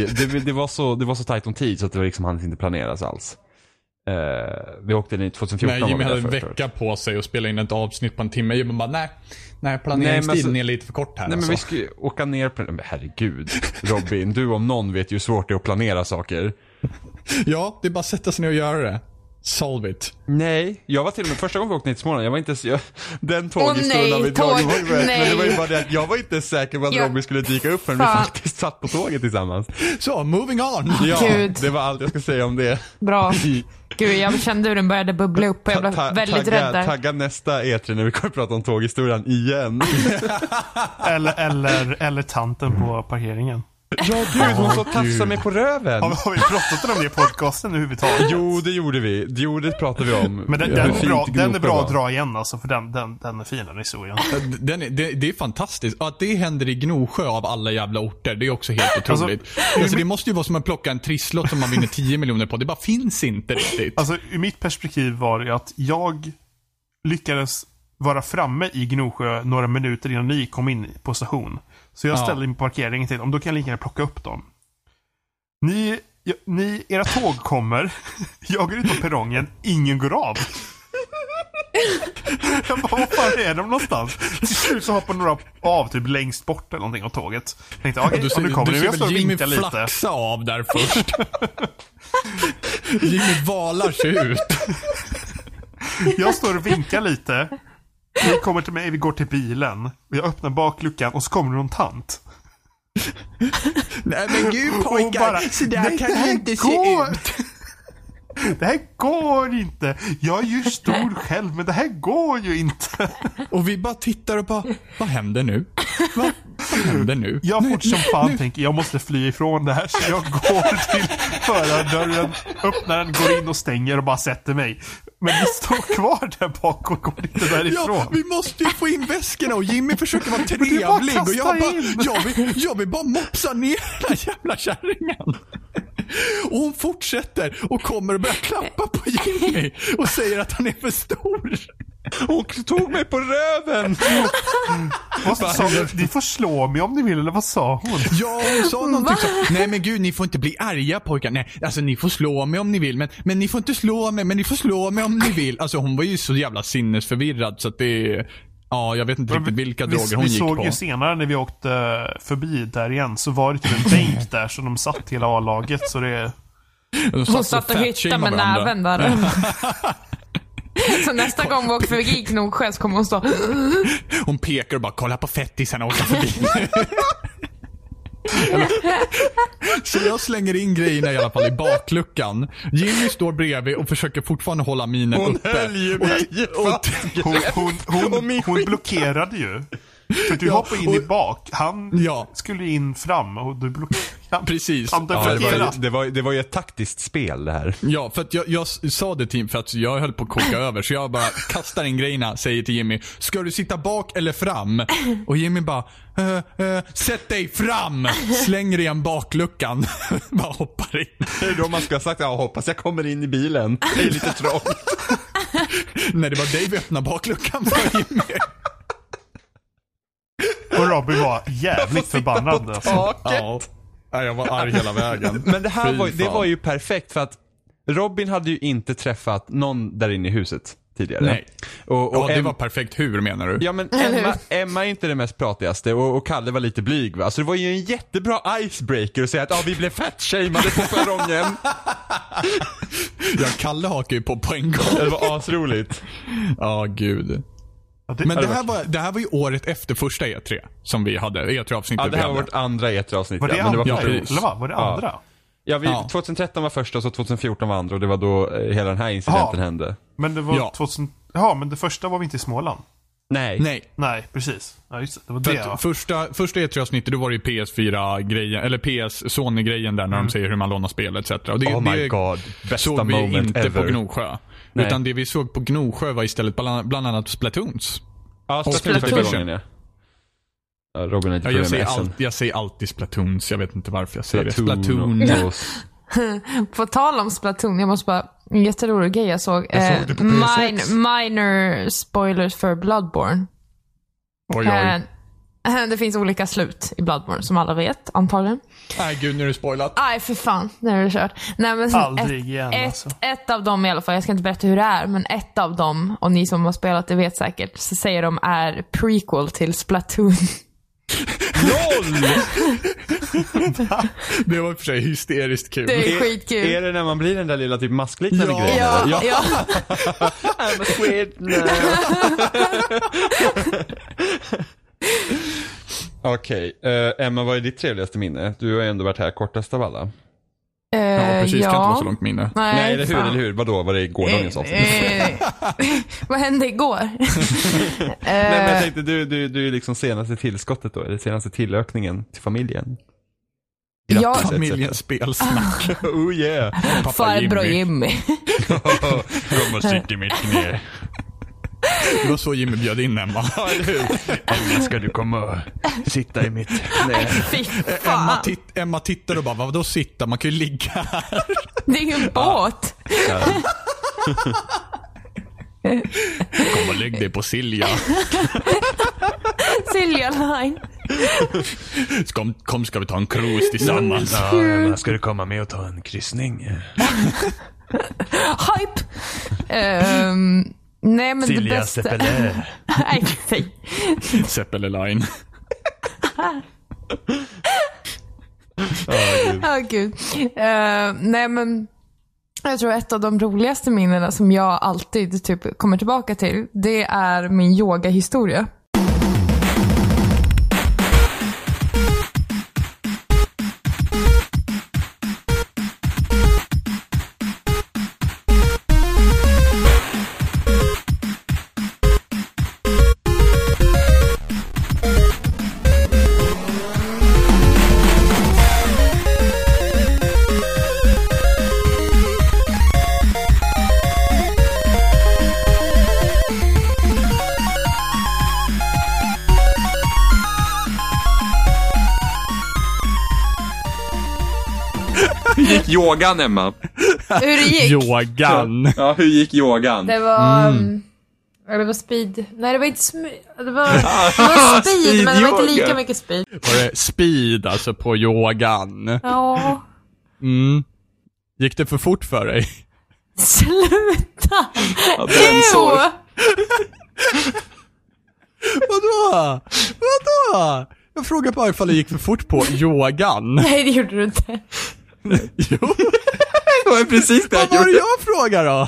(laughs) Det, det, var så, det var så tajt om tid så att det var liksom hann inte planeras alls. Eh, vi åkte dit 2014 Nej, var vi Jimmy där hade en förut, tror jag. vecka på sig att spela in ett avsnitt på en timme. Jimmy bara, nej. Nej, Nej, men planeringstiden alltså- är lite för kort här Nej men alltså. vi ska ju åka ner på... Men herregud. Robin, du om någon vet ju hur svårt det är att planera saker. Ja, det är bara att sätta sig ner och göra det. Solve it. Nej, jag var till och med första gången vi åkte ner till Småland, jag var inte så, jag, Den Åh, tåghistorien nej, har vi dragit, tåg, var ju rätt, men det var ju nej. bara det att jag var inte säker på att Ja. Robin skulle dyka upp förrän Fan. vi faktiskt satt på tåget tillsammans. Så, moving on. Ja, Gud. det var allt jag ska säga om det. Bra. Gud, jag kände hur den började bubbla upp och jag blev Ta- väldigt tagga, rädd där. tagga nästa E3 när vi kommer att prata om tåghistorien igen. Eller, eller, eller tanten på parkeringen. Ja, gud, hon så tafsade mig på röven. Har, har vi pratat om det i podcasten överhuvudtaget? Jo, det gjorde vi. Det gjorde, det pratade vi om. Men den, Hur den, är fint bra, den är gropen bra var. att dra igen alltså, för den, den, den är fin den historien. Ja, d- Den är, det, det är fantastiskt. Och Att det händer i Gnosjö av alla jävla orter, det är också helt otroligt. Alltså, det måste ju vara som att plocka en trisslott som man vinner 10 miljoner på. Det bara finns inte riktigt. Alltså, ur mitt perspektiv var det att jag lyckades vara framme i Gnosjö några minuter innan ni kom in på station. Så jag Ja. ställde mig på parkeringen och tänkte, om då kan jag lika gärna plocka upp dem. Ni, ja, ni, era tåg kommer. (laughs) Jag går ut på perrongen. Ingen går av. (laughs) Jag bara, var fan är de någonstans? Till slut så hoppar några av typ längst bort eller någonting av tåget. Jag tänkte, okej, Och du ja, nu ser- kommer du det. ser Jag står och väl Jimmy vinkar lite. flaxa av där först. Jimmy valar sig ut. Jag står och vinkar lite. Ni kommer till mig, vi går till bilen. Och jag öppnar bakluckan och så kommer det någon tant. Nej men gud pojkar, så där kan det inte se ut. (laughs) Det här går inte. Jag är ju stor själv, men det här går ju inte. Och vi bara tittar och bara, vad händer nu? Vad, vad händer nu? Jag fort som fan nu. tänker, jag måste fly ifrån det här. Så jag går till förardörren, öppnar den, går in och stänger och bara sätter mig. Men vi står kvar där bak och går inte Ja, därifrån. vi måste ju få in väskorna och Jimmy (laughs) försöker vara Men det är bara att trevlig och jag kasta bara, in. jag vill, jag vill bara mopsa ner den här jävla kärringen. Och hon fortsätter och kommer och börjar klappa på Jimmy och säger att han är för stor. Hon tog mig på röven! Vad sa hon? Ni får slå mig om ni vill, eller vad sa hon? Ja, hon sa någonting så. Nej men gud, ni får inte bli arga pojkar. Nej, alltså ni får slå mig om ni vill. Men, men ni får inte slå mig, men ni får slå mig om ni vill. Alltså hon var ju så jävla sinnesförvirrad så att det... Ja, jag vet inte riktigt vilka vi, droger hon vi gick såg på. ju senare när vi åkte eh, förbi där igen så var det typ en (laughs) bänk där som de satt hela A-laget så det... De Hon satt och hyttade med näven där. så nästa gång vi åker förbi Gnosjö så kommer hon stå Hon pekar och bara kolla på fettisarna åka (laughs) förbi. Så jag slänger in grejerna i alla fall i bakluckan. Jimmy står bredvid och försöker fortfarande hålla minen Hon uppe. höll ju mig i och- Hon, hon, Och hon, min hon skit. blockerade ju. För du Ja, hoppade in i och- bak. Han Ja. skulle in fram och du (laughs) blockerade. Precis. Han Ja, det, blockerade. var, det, var, det var ju ett taktiskt spel det här. Ja, för att jag, jag s- sa det till Jimmy för att jag höll på att koka över. Så jag bara kastar in grejerna, säger till Jimmy. Ska du sitta bak eller fram? Och Jimmy bara, eh, eh, sätt dig fram! Slänger igen bakluckan. (laughs) bara hoppar in. Det är då man ska ha sagt, jag hoppas jag kommer in i bilen. Det är lite trångt. Nej, det var dig vi öppnade bakluckan för Jimmy. Och Robin var jävligt förbannad. Alltså. Ja. Nej, jag var arg hela (laughs) vägen. Men det här Fy var, det fan. var ju perfekt för att Robin hade ju inte träffat någon där inne i huset. tidigare. Nej. Och, Ja, det Em- var perfekt hur menar du? Ja men Emma, Emma är inte den mest pratigaste och, och Kalle var lite blyg va. Så det var ju en jättebra icebreaker att säga att ah, vi blev fatshameade på (laughs) perrongen. Ja, Kalle hakar ju på på en gång. Det var asroligt. (laughs) Ja, gud. det- Men Ja, det det här, var- var, det här var ju året efter första E3 som vi hade. E E3-avsnittet Ja, det här var vi hade. vårt andra E3-avsnitt. Var det ja, men andra? var första. Eller va? Var det Ja. andra? Ja, vi, Ja. 2013 var första och så 2014 var andra och det var då eh, hela den här incidenten Ja. hände. Men det var Ja. 2000... Ja, men det första var vi inte i Småland. Nej. Nej. Nej, precis. Ja, just det. Det var För det ja. att första, första E3-avsnittet då var det ju PS4-grejen, eller PS Sony-grejen där när de säger hur man lånar spel etc. Och det, Oh my det God. Bästa såg vi moment inte ever. på Gnosjö. Nej. Utan det vi såg på Gnosjö var istället bland, bland annat Splatoons. Ja, Och Splatoon första Splatoon. gången ja. Ja, Robin har lite Ja, problem jag, med säger S'en. all, jag säger alltid Splatoons, jag vet inte varför jag säger Splatoon det. Splatoon. (laughs) och- På tal om Splatoon, jag måste bara... En jätterolig grej jag såg. eh, Jag såg det på PS6. minor spoilers för Bloodborne. Oj, oj. (laughs) Eh, (laughs) Det finns olika slut i Bloodborne som alla vet, antagligen. Nej, gud nu är det spoilat. Aj, för fan. Nu är det kört. Nej, men Aldrig ett, igen, ett, alltså. ett av dem i alla fall, jag ska inte berätta hur det är, men ett av dem, och ni som har spelat det vet säkert, så säger de är prequel till Splatoon. (laughs) Det var i och för sig hysteriskt kul. Det är skitkul. Är det när man blir den där lilla typ maskliknande Ja. grejen? Ja, eller? ja. I'm a squid now. Okej, eh, Emma vad är ditt trevligaste minne? Du har ju ändå varit här kortast av alla. Eh, minne. Nej, Nej eller hur, fan. eller hur? Vadå, var det gårdagens Eh, (laughs) avsnitt? eh, Vad hände igår? Nej men jag Eh, tänkte, du, du, du är liksom senaste tillskottet då, eller senaste tillökningen till familjen. Ja. etc. Familjens (laughs) spelsnack. oh yeah. Farbror Jimmy. Kom och sitt i mitt knä. Det var så Jimmy bjöd in Emma. Emma ska du komma och sitta i mitt knä. (laughs) (laughs) Fy Eh, Emma, fan. titt, Emma tittar och bara, vadå sitta? Man kan ju ligga här. Det är ju en båt. Kom och lägg dig på Silja. Silja Line. Kom, kom ska vi ta en cruise tillsammans. Ja, Emma, ska du komma med och ta en kryssning? (laughs) Hype! Ehm, nej men det Silja bästa... Seppele. (laughs) Nej, fy. Seppele Line. Ja, gud. Eh, nej, men jag tror ett av de roligaste minnena som jag alltid typ kommer tillbaka till, det är min yogahistoria. Hur gick yogan Emma? Hur det gick? Yogan. Ja, hur gick yogan? Det var... mm, ja, Det var speed. Nej, det var inte sm- Det var, det var speed, men det var inte lika Speedyoga. mycket speed. Var det speed alltså på yogan? Ja, Mm. Gick det för fort för dig? sluta! den såg. Ew! Vadå? Vadå? Jag frågar bara ifall det gick för fort på yogan. (laughs) Nej, det gjorde du inte. Det var precis det Vad var det jag frågade då?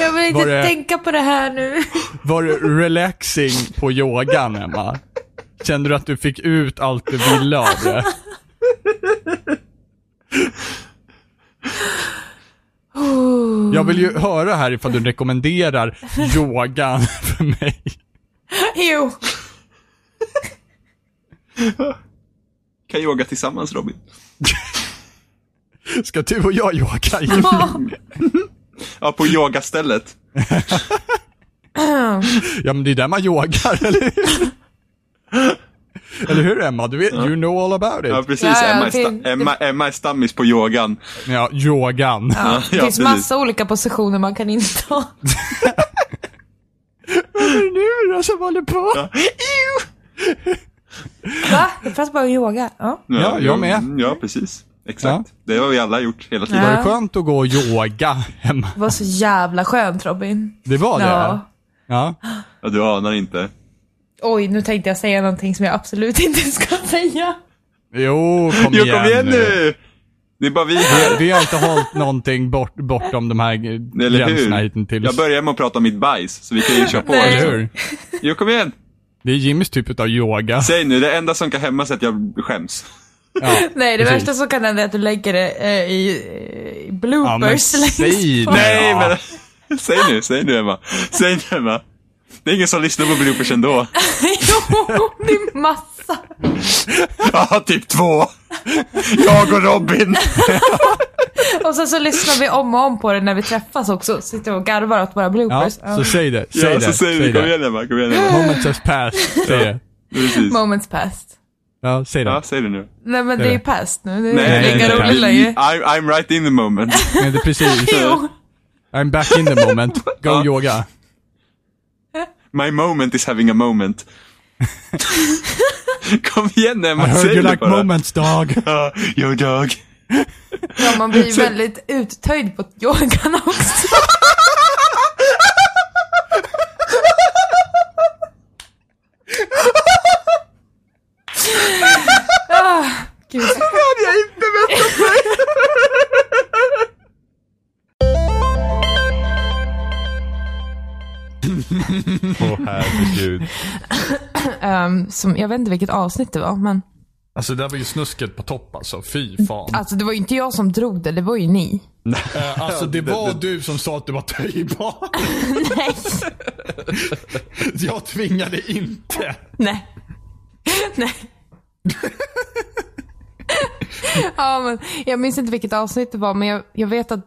Jag vill inte Var det- tänka på det här nu. (laughs) Var det relaxing på yogan, Emma? Kände du att du fick ut allt du ville av det? Jag vill ju höra här ifall du rekommenderar yogan för mig. Jo. Kan yoga tillsammans Robin? Ska du och jag yoga? Ja, på yogastället. Ja, men det är där (laughs) man yogar, eller hur? Eller hur Emma? Du vet, you know all about it. Ja, precis. Ja, ja, Emma, är det- sta- Emma, Emma är stammis på yogan. Ja, yogan. (laughs) Ja, det ja, finns precis. massa olika positioner man kan inta. Vad är det nu då som håller på? Va? Jag pratar bara om yoga. Ja. Ja, jag med. mm, Ja, precis. Exakt. Det har vi alla gjort hela Det tiden. var skönt att gå och yoga hemma. Det var så jävla skönt Robin. Det var det? Ja. Ja. Ja, du anar inte. Oj, nu tänkte jag säga någonting som jag absolut (laughs) inte ska säga. Jo, kom Jo, igen. kom igen nu! Det är bara vi här. Vi, vi har inte hållit någonting bort, bortom de här g- Eller gränserna hur? hittills. Jag börjar med att prata om mitt bajs, så vi kan ju köra på. Nej. liksom. Eller hur? Jo, kom igen! Det är Jimmys typ av yoga. Säg nu, det enda som kan hämmas är att jag skäms. Nej, det precis. värsta som kan hända är att du lägger det eh, i, eh, i bloopers längst bak. Nej, men... Säg nu, säg nu Emma. Säg nu Emma. Det är ingen som lyssnar på bloopers ändå. (laughs) jo, det är massa. Ja, typ två. Jag och Robin. Och sen så lyssnar vi om och om på det när vi träffas också. Sitter och garvar åt våra bloopers. Ja, så säg det. Säg Ja, det. så säg det. Kom igen Emma, kom igen Emma. Moments has passed. Säg det. Precis. Moments past. Ja, säg det. Ja, säg det nu. Nej men det är ju past nu. Det är Nej, inga nej, nej. roligt längre. I'm, I'm right in the moment. Nej, det är precis. I'm back in the moment. Go yoga. My moment is having a (laughs) moment. Kom igen I Emma, heard säg you det like bara. moments (laughs) dog. Ja, yo dog. Ja, man (laughs) blir ju väldigt uttöjd på yogan (laughs) också. ah, gud. hade jag inte väntat mig! Åh herregud. Ehm, som, jag vet inte vilket avsnitt det var, men Alltså det där var ju snusket på topp alltså. Fy fan. alltså det var ju inte jag som drog det, det var ju ni. Eh, alltså det var du som sa att du var töjbar. (laughs) Nej. (laughs) Jag tvingade inte. Nej. Nej. (laughs) ja, men jag minns inte vilket avsnitt det var, men jag, jag vet att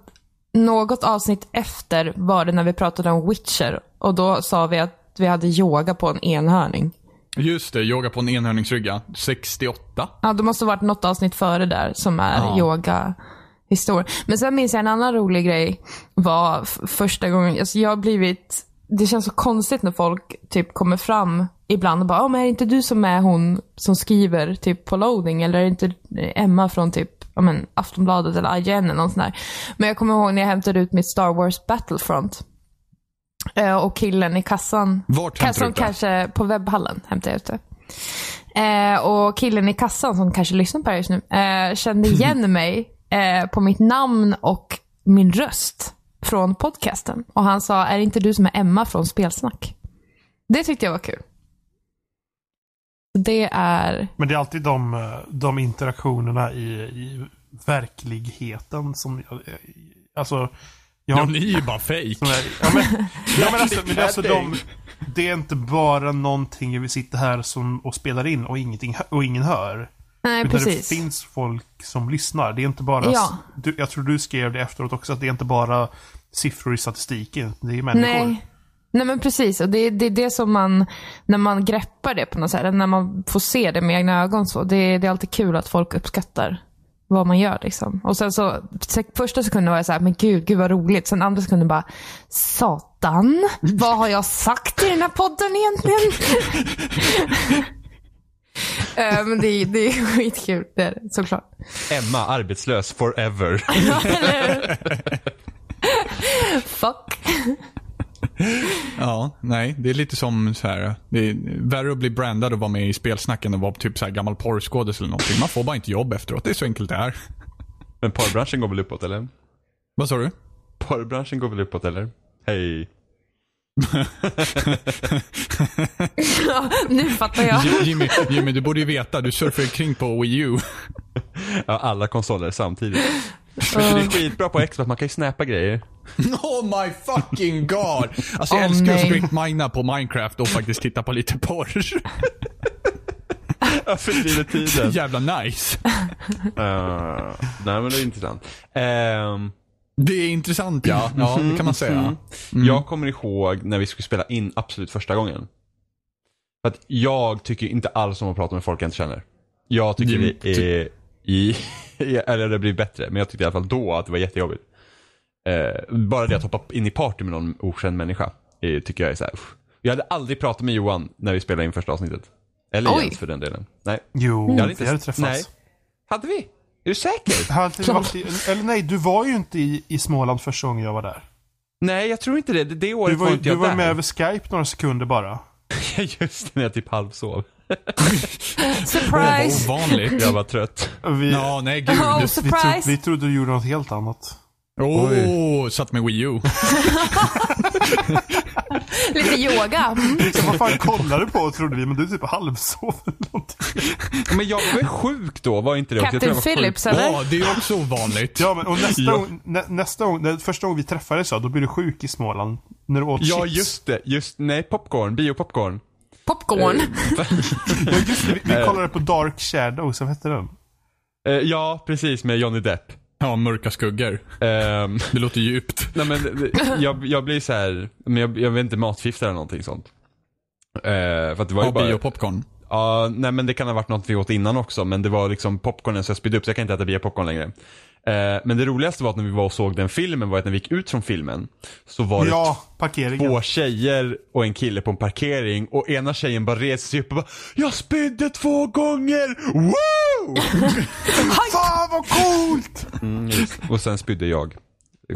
något avsnitt efter var det när vi pratade om Witcher. Och då sa vi att vi hade yoga på en enhörning. Just det, yoga på en enhörningsrygga. 68. Ja, det måste ha varit något avsnitt före där som är Ja. yoga historia. Men sen minns jag en annan rolig grej var f- första gången, alltså jag har blivit, det känns så konstigt när folk typ kommer fram ibland och bara, "Ja, men är det inte du som är hon som skriver typ på loading eller är det inte Emma från typ ja, men, Aftonbladet eller IGN eller någon sån där. Men jag kommer ihåg när jag hämtade ut mitt Star Wars Battlefront. Eh, Och killen i kassan. Vart hämtade kassan du ut det? kanske På webbhallen hämtade jag ut det. Eh, och killen i kassan som kanske lyssnar på det här just nu eh, kände Mm. igen mig eh, på mitt namn och min röst från podcasten. Och han sa, är det inte du som är Emma från Spelsnack? Det tyckte jag var kul. Det är... Men det är alltid de, eh, de interaktionerna i, i verkligheten som... jag- Alltså... Ja, ni är ju bara fake. Ja, men, (laughs) ja, men alltså, men det är alltså de, det är inte bara någonting vi sitter här som, och spelar in och, ingenting, hö- och ingen hör. Nej, Utan precis. det finns folk som lyssnar. Det är inte bara... Ja. Du, jag tror du skrev det efteråt också, att det är inte bara siffror i statistiken. Det är människor. Nej. Nej men precis, och det, det är det som man, när man greppar det på något sätt, när man får se det med egna ögon så, det, det är alltid kul att folk uppskattar vad man gör liksom. Och sen så, se- första sekunden var jag så här, men gud, gud vad roligt. Sen andra sekunden bara, satan, vad har jag sagt i den här podden (laughs) egentligen? Eh, men det, är- det är skitkul, det är det, såklart. Emma, arbetslös forever. Fuck. Ja, nej. Det är lite som så här. Det är värre att bli brandad och vara med i spelsnacken och vara typ så här gammal porrskådis eller någonting. Man får bara inte jobb efteråt. Det är så enkelt det är. Men porrbranschen går väl uppåt eller? Vad sa du? Porrbranschen går väl uppåt eller? Hej. Ja, nu fattar (laughs) jag. J- Jimmy, Jimmy, du borde ju veta. Du surfar ju kring på Wii U. Ja, alla konsoler samtidigt. Men Det är skitbra på Xbox, man kan ju snappa grejer. (laughs) Oh my fucking god! Alltså Åh, jag älskar att nej. sprintmina på Minecraft och faktiskt titta på lite porr. (laughs) Jag fördriver (laughs) tiden. Jävla nice. Uh, nej men det är intressant. Ehm, Det är intressant ja. Ja, det kan Mm-hmm. man säga. Jag kommer ihåg när vi skulle spela in absolut första gången. För att jag tycker inte alls om att prata med folk jag inte känner. Jag tycker Jim, det är, i, (laughs) eller det blir bättre, men jag tyckte i alla fall då att det var jättejobbigt. Eh, bara det att hoppa in i party med någon okänd människa eh, tycker jag är så här. usch. Jag hade aldrig pratat med Johan när vi spelade in första avsnittet. Eller Oj. Jens för den delen. Nej. Mm. Jo, Jag hade vi hade träffats. Nej. Hade vi? Är du (laughs) säker? Hade vi varit i, eller nej, du var ju inte i, i Småland första gången jag var där. Nej, jag tror inte det. Det, det året Du var, var, ju- du inte jag var där. ju med över Skype några sekunder bara. (laughs) Just när jag typ halvsov. Surprise! (laughs) Jag var trött. Vi, Ja, nej, gud. Oh, vi, vi, trodde, surprise! vi trodde du gjorde något helt annat. Åh, satt med Wii U. Lite yoga. Mm. Liksom, vad fan kollade du på trodde vi, men du typ halvsov eller någonting. Men jag var ju sjuk då, var inte det? också? Jag tror jag Captain var sjuk. Phillips eller? Ja, det är också ovanligt. Ja, men och nästa, Ja. Gång, nä, nästa gång, nä, första gången vi träffades ja, då blev du sjuk i Småland. När du åt Ja, chips. just det. Just, nej, popcorn. Biopopcorn. Eh, Popcorn. Ja, just det. Vi, vi kollade på Dark Shadows, vad hette den? Eh, ja, precis. Med Johnny Depp. Ja, mörka skuggor. Ehm, (laughs) Det låter djupt. nej, men, det- jag, jag blir så här, men jag, jag vet inte, matförgiftad eller någonting sånt. Eh, för att det var ju Av bara... biopopcorn. Ja, nej men det kan ha varit något vi åt innan också, men det var liksom popcornen så jag spydde upp så jag kan inte äta biopopcorn längre. Eh, men det roligaste var att när vi var och såg den filmen var att när vi gick ut från filmen så var det Ja, parkeringen. två tjejer och en kille på en parkering och ena tjejen bara reser sig upp och bara Jag spydde två gånger! (laughs) Woo! Fan vad coolt! Mm, just. och sen spydde jag.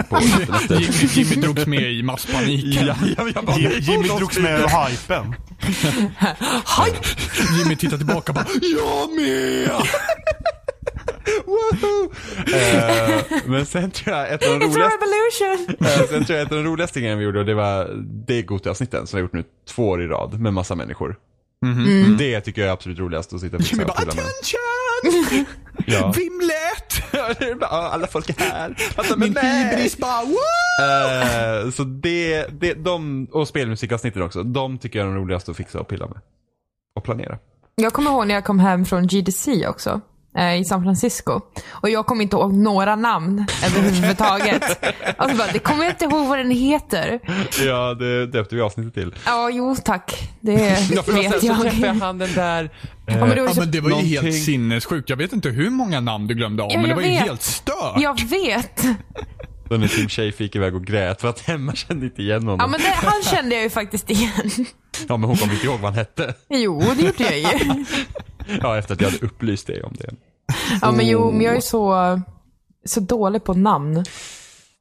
På natten (laughs) efter. Jimmy, Jimmy drogs med i masspaniken. Ja, ja, jag bara, Jimmy, nej, Jimmy de drogs spydde. med av hypen. Jimmy tittar tillbaka och bara Jag med! Woho! Eh, men sen tror jag ett av de It's a roligaste revolution! Eh, Sen tror jag att en av de roligaste grejerna vi gjorde, och det var det Gothia-avsnitten som vi har gjort nu två år i rad med massa människor. Mhm. Det tycker jag är absolut roligast att sitta och Jimmy fixa bara och pilla med. (laughs) Attention! Ja. Vimlet! (laughs) Det är bara, "Ah, Alla folk är här. Att de är Min med. hybris bara Woo! Eh, Så det, det, de, och spelmusikavsnitten också, de tycker jag är de roligaste att fixa och pilla med. Och planera. Jag kommer ihåg när jag kom hem från GDC också. eh, I San Francisco. Och jag kommer inte ihåg några namn (laughs) överhuvudtaget. Alltså bara, det kommer jag inte ihåg vad den heter. Ja, det döpte vi avsnittet till. Ja, jo tack. Det vet jag. (laughs) han den där... Ja, men det var Ja, ju så- men det var ju helt Någonting- sinnessjukt. Jag vet inte hur många namn du glömde av, Ja, men det jag var ju vet. helt stört. Jag vet. Då när Tim Schafer gick iväg och grät för att Emma kände inte igen honom. Ja, men det, han kände jag ju faktiskt igen. (laughs) ja, men hon kom inte ihåg vad han hette. Jo, det gjorde jag ju. Ja, efter att jag hade upplyst dig om det. Ja, men jo, men jag är ju så, så dålig på namn.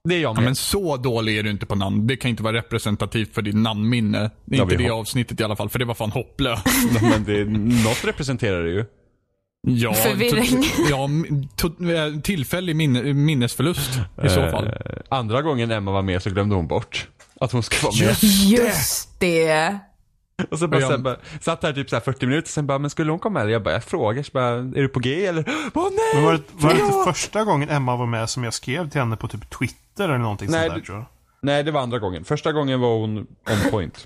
Det är jag Ja, med. men så dålig är du inte på namn. Det kan inte vara representativt för ditt namnminne. Det är Ja, inte vi det har- avsnittet i alla fall, för det var fan (laughs) hopplöst. Ja, men det, något representerar det ju. Ja, Förvirring. to- Ja, m- to- eh, tillfällig minne- minnesförlust i så Eh, fall. Andra gången Emma var med så glömde hon bort att hon skulle vara med. Oh. Just det. Och så bara, Ja. sen bara, satt här typ så här 40 minuter sen bara, men skulle hon komma eller? Jag bara, jag frågar. Så bara, är du på G eller? Åh Men var nej! det, var det inte första gången Emma var med som jag skrev till henne på typ Twitter eller någonting Nej, sånt där det- tror jag? Nej, det var andra gången. Första gången var hon on point.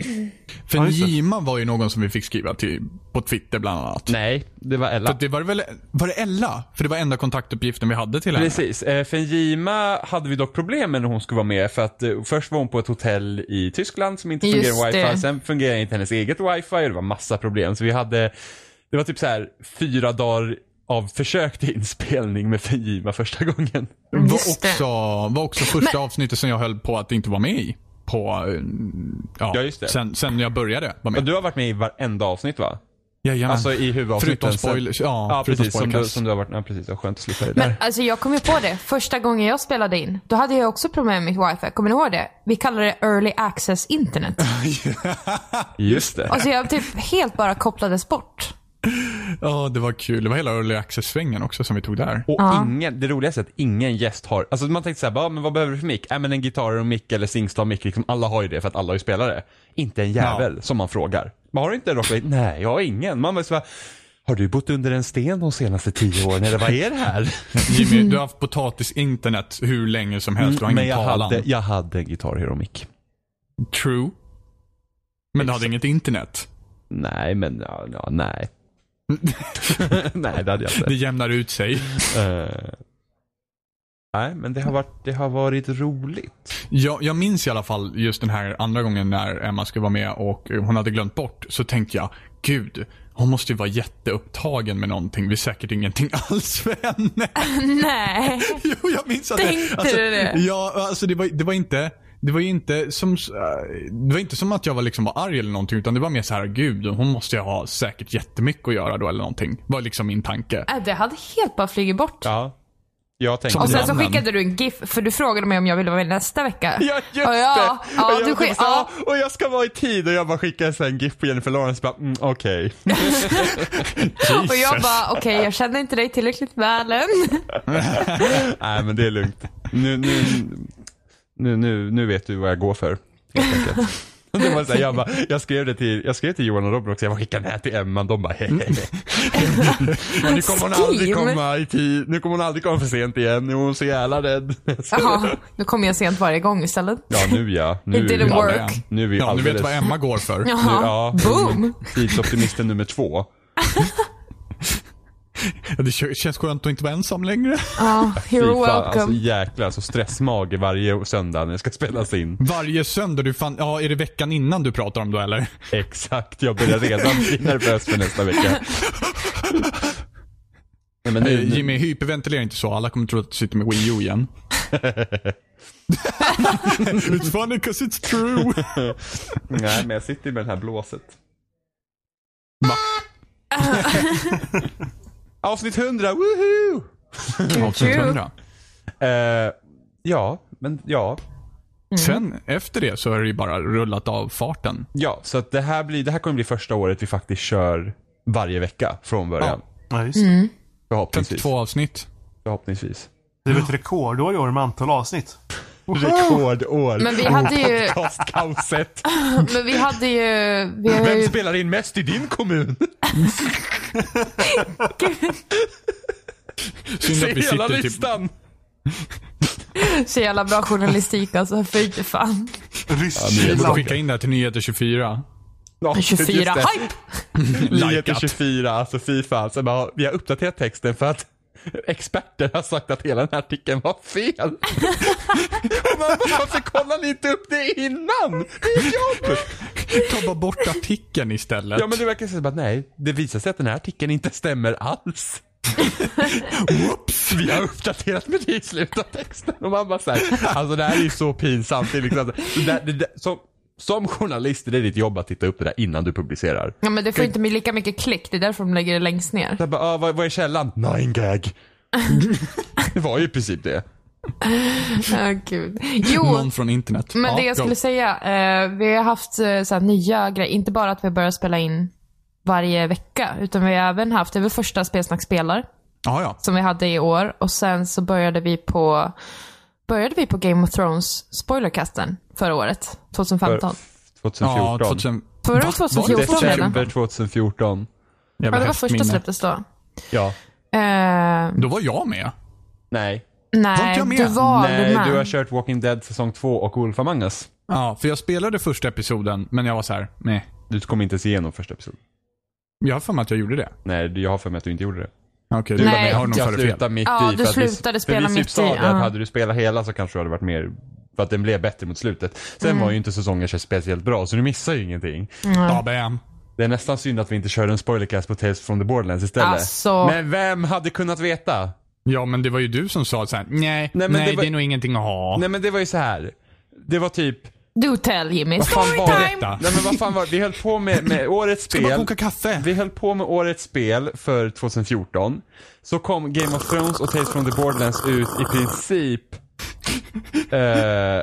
För ja, just det. Jima var ju någon som vi fick skriva till på Twitter bland annat. (laughs) nej, det var För Ella. det var väl, var det Ella? För det var enda kontaktuppgiften vi hade till henne. Precis. Eh, Fenjima hade vi dock problem med när hon skulle vara med för att eh, först var hon på ett hotell i Tyskland som inte Just fungerade wifi. det. Sen fungerade inte hennes eget wifi och det var massa problem. Så vi hade, det var typ så här fyra dagar av försök till inspelning med Fenjima första gången. Var Just det. också, var också första avsnittet som jag höll på att inte vara med i. På, eh, ja, Ja, just det. Sen, sen jag började vara Och med. du har varit med i varenda avsnitt va? Jajamän. Alltså i huvudavsnitten. Förutom Så- spoilers, ja, ja förutom precis. Som du, spoilers. som du har varit, ja precis. Det var skönt att slippa det där. Men alltså jag kom ju på det, första gången jag spelade in, då hade jag också problem med mitt wifi. Kommer ni ihåg det? Vi kallade det early access internet. Just det. Alltså jag typ helt bara kopplades bort. Ja, det var kul. Det var hela early access-svängen också som vi tog där. Och ingen, det roligaste är att ingen gäst har, alltså man tänkte såhär, bara, men vad behöver du för mick? Äh, men en gitarr och en mick eller Singstar mick, liksom, alla har ju det för att alla har ju spelare. Inte en jävel som man frågar. Men har du inte en Rocklight? Nej, jag har ingen. Man bara, så bara, har du bott under en sten de senaste tio åren eller vad är det (laughs) här? Jimmy, du har haft potatis-internet hur länge som helst. Du har Mm, men ingen jag talan. hade, jag hade en gitarr Hero mick. True. Men du hade inget internet. Nej, men ja, ja, (laughs) nej. (laughs) nej, det hade jag inte. Det jämnar ut sig. Eh, nej, men det har varit, det har varit roligt. Jag, jag minns i alla fall just den här andra gången när Emma skulle vara med och eh, hon hade glömt bort. Så tänkte jag, gud, hon måste ju vara jätteupptagen med någonting. Vi är säkert ingenting (laughs) alls för henne. (laughs) Nej. Jo, jag minns att Tänkte alltså, du det? Ja, alltså det var, det var inte... det var ju inte som, eh, det var inte som att jag var, liksom var arg eller någonting. Utan det var mer så här, gud hon måste ju ha säkert jättemycket att göra då eller någonting. Var liksom min tanke. Äh, det hade helt bara flugit bort. Ja. Jag tänkte Och sen så skickade du en GIF, för du frågade mig om jag ville vara med nästa vecka. Ja, just och ja, det! Ja, och, jag du bara skick, så här, ja. och jag ska vara i tid och jag bara skickar så här en GIF på Jennifer Lawrence bara, mm, okej. Och jag bara, okej jag känner inte dig tillräckligt väl än. (laughs) Nej men det är lugnt. Nu, nu, nu, nu, nu vet du vad jag går för. Helt enkelt. (laughs) Det var så här, jag, bara, jag, skrev det till, jag skrev till Johan och Robin också, jag bara skickade det här till Emma, de bara hehehe. Mm. nu kommer hon aldrig komma i tid, nu kommer hon aldrig komma för sent igen, nu är hon så jävla rädd. (laughs) Jaha, nu kommer jag sent varje gång istället. Ja, nu ja. Nu, It didn't ja, work. men, Nu är vi Ja, nu vet alldeles- vad Emma går för. (laughs) Nu- Jaha, boom. Tidsoptimisten nummer två. Ja, Det kö- känns skönt att inte vara ensam längre. Ja, Fy you're fan, welcome. Alltså jäklar, så stressmage varje söndag när det ska spelas in. Varje söndag, du fan, ja är det veckan innan du pratar om då eller? Exakt, jag börjar redan bli nervös för nästa vecka. Nej, men nu- Eh, Jimmy, hyperventilera inte så. Alla kommer tro att du sitter med Wii (laughs) U igen. it's funny 'cause it's true. (laughs) Nej, men jag sitter med det här blåset. (laughs) Avsnitt 100, woho! Avsnitt 100. Eh, ja, men ja. Mm. Sen efter det så har det ju bara rullat av farten. Ja, så att det, här blir, det här kommer bli första året vi faktiskt kör varje vecka från början. Ja, just Mm. Förhoppningsvis. 52 avsnitt. Förhoppningsvis. Det är väl ett rekordår i år med antal avsnitt. Rekordår. Men vi hade ju- (laughs) Podcastkaoset. Men vi hade ju... Vi har Vem ju spelar in mest i din (laughs) kommun? Synd att vi Se hela sitter typ... listan. så jävla bra journalistik alltså. Fy fan. Vi borde Ryssland. skicka in det här till Nyheter 24. Ja, 24, just det. hype! Nyheter Likat. 24, alltså fy fan. Sen bara, vi har uppdaterat texten för att (laughs) experter har sagt att hela den här artikeln var (laughs) fel. (laughs) Och man bara, varför kollar ni inte upp det innan? Det är jobb! Ta bara bort artikeln istället. Ja men det verkar som att nej, det visar sig att den här artikeln inte stämmer alls. (laughs) Whoops! Vi har uppdaterat med det i slutet av texten. Och man bara såhär, alltså det här är ju så pinsamt. Det är liksom, det där, det där, som, som journalist, det är ditt jobb att titta upp det där innan du publicerar. Ja, men det får inte lika mycket klick. Det är därför de lägger det (laughs) längst ner. Så jag bara, ah, vad, vad är källan? Nine (laughs) gag. det var ju i princip det. Oh, Gud. Jo, Någon från internet. men Ja, det jag go. skulle säga. Eh, vi har haft eh, så här, nya grejer. Inte bara att vi börjar spela in varje vecka. Utan vi har även haft, det var första Spelsnack spelar. Ja, ja. som vi hade i år. Och sen så började vi på, började vi på Game of Thrones spoilerkasten förra året, 2015. Ja, 2014. 2000... Förra Va? året 2014 redan. December 2014. Ja, Jävla det var hästminne. första släpptes då. Ja. Eh, Då var jag med. Nej. Var inte nej, jag med? du var aldrig Nej, med. du har kört Walking Dead säsong 2 och Wolf Among Us. Ja, för jag spelade första episoden, men jag var så här, nej. Du kom inte ens igenom första episoden. Jag har för mig att jag gjorde det. Nej, jag har för mig att du inte gjorde det. Okej, du Nej. nej, har nog Jag för fel. slutade mitt Ja, i. du för att vi- slutade för spela vi mitt typ sa i, det, ja. att hade du spelat hela så kanske du hade varit mer, för att den blev bättre mot slutet. Sen Mm. var ju inte säsongen så speciellt bra, så du missar ju ingenting. Ja, bam. Det är nästan synd att vi inte körde en spoilercast på Tales from the Borderlands istället. Alltså. Men vem hade kunnat veta? Ja, men det var ju du som sa så här, nej, nej, men det, det var- är nog ingenting att ha. Nej men det var ju så här. Det var typ... Do tell Jimmy. Vad fan var Storytime! detta? Nej men vad fan var det? Vi höll på med, med årets Ska bara spel. koka kaffe. Vi höll på med årets spel för 2014. Så kom Game of Thrones och Tales from the Borderlands ut i princip eh,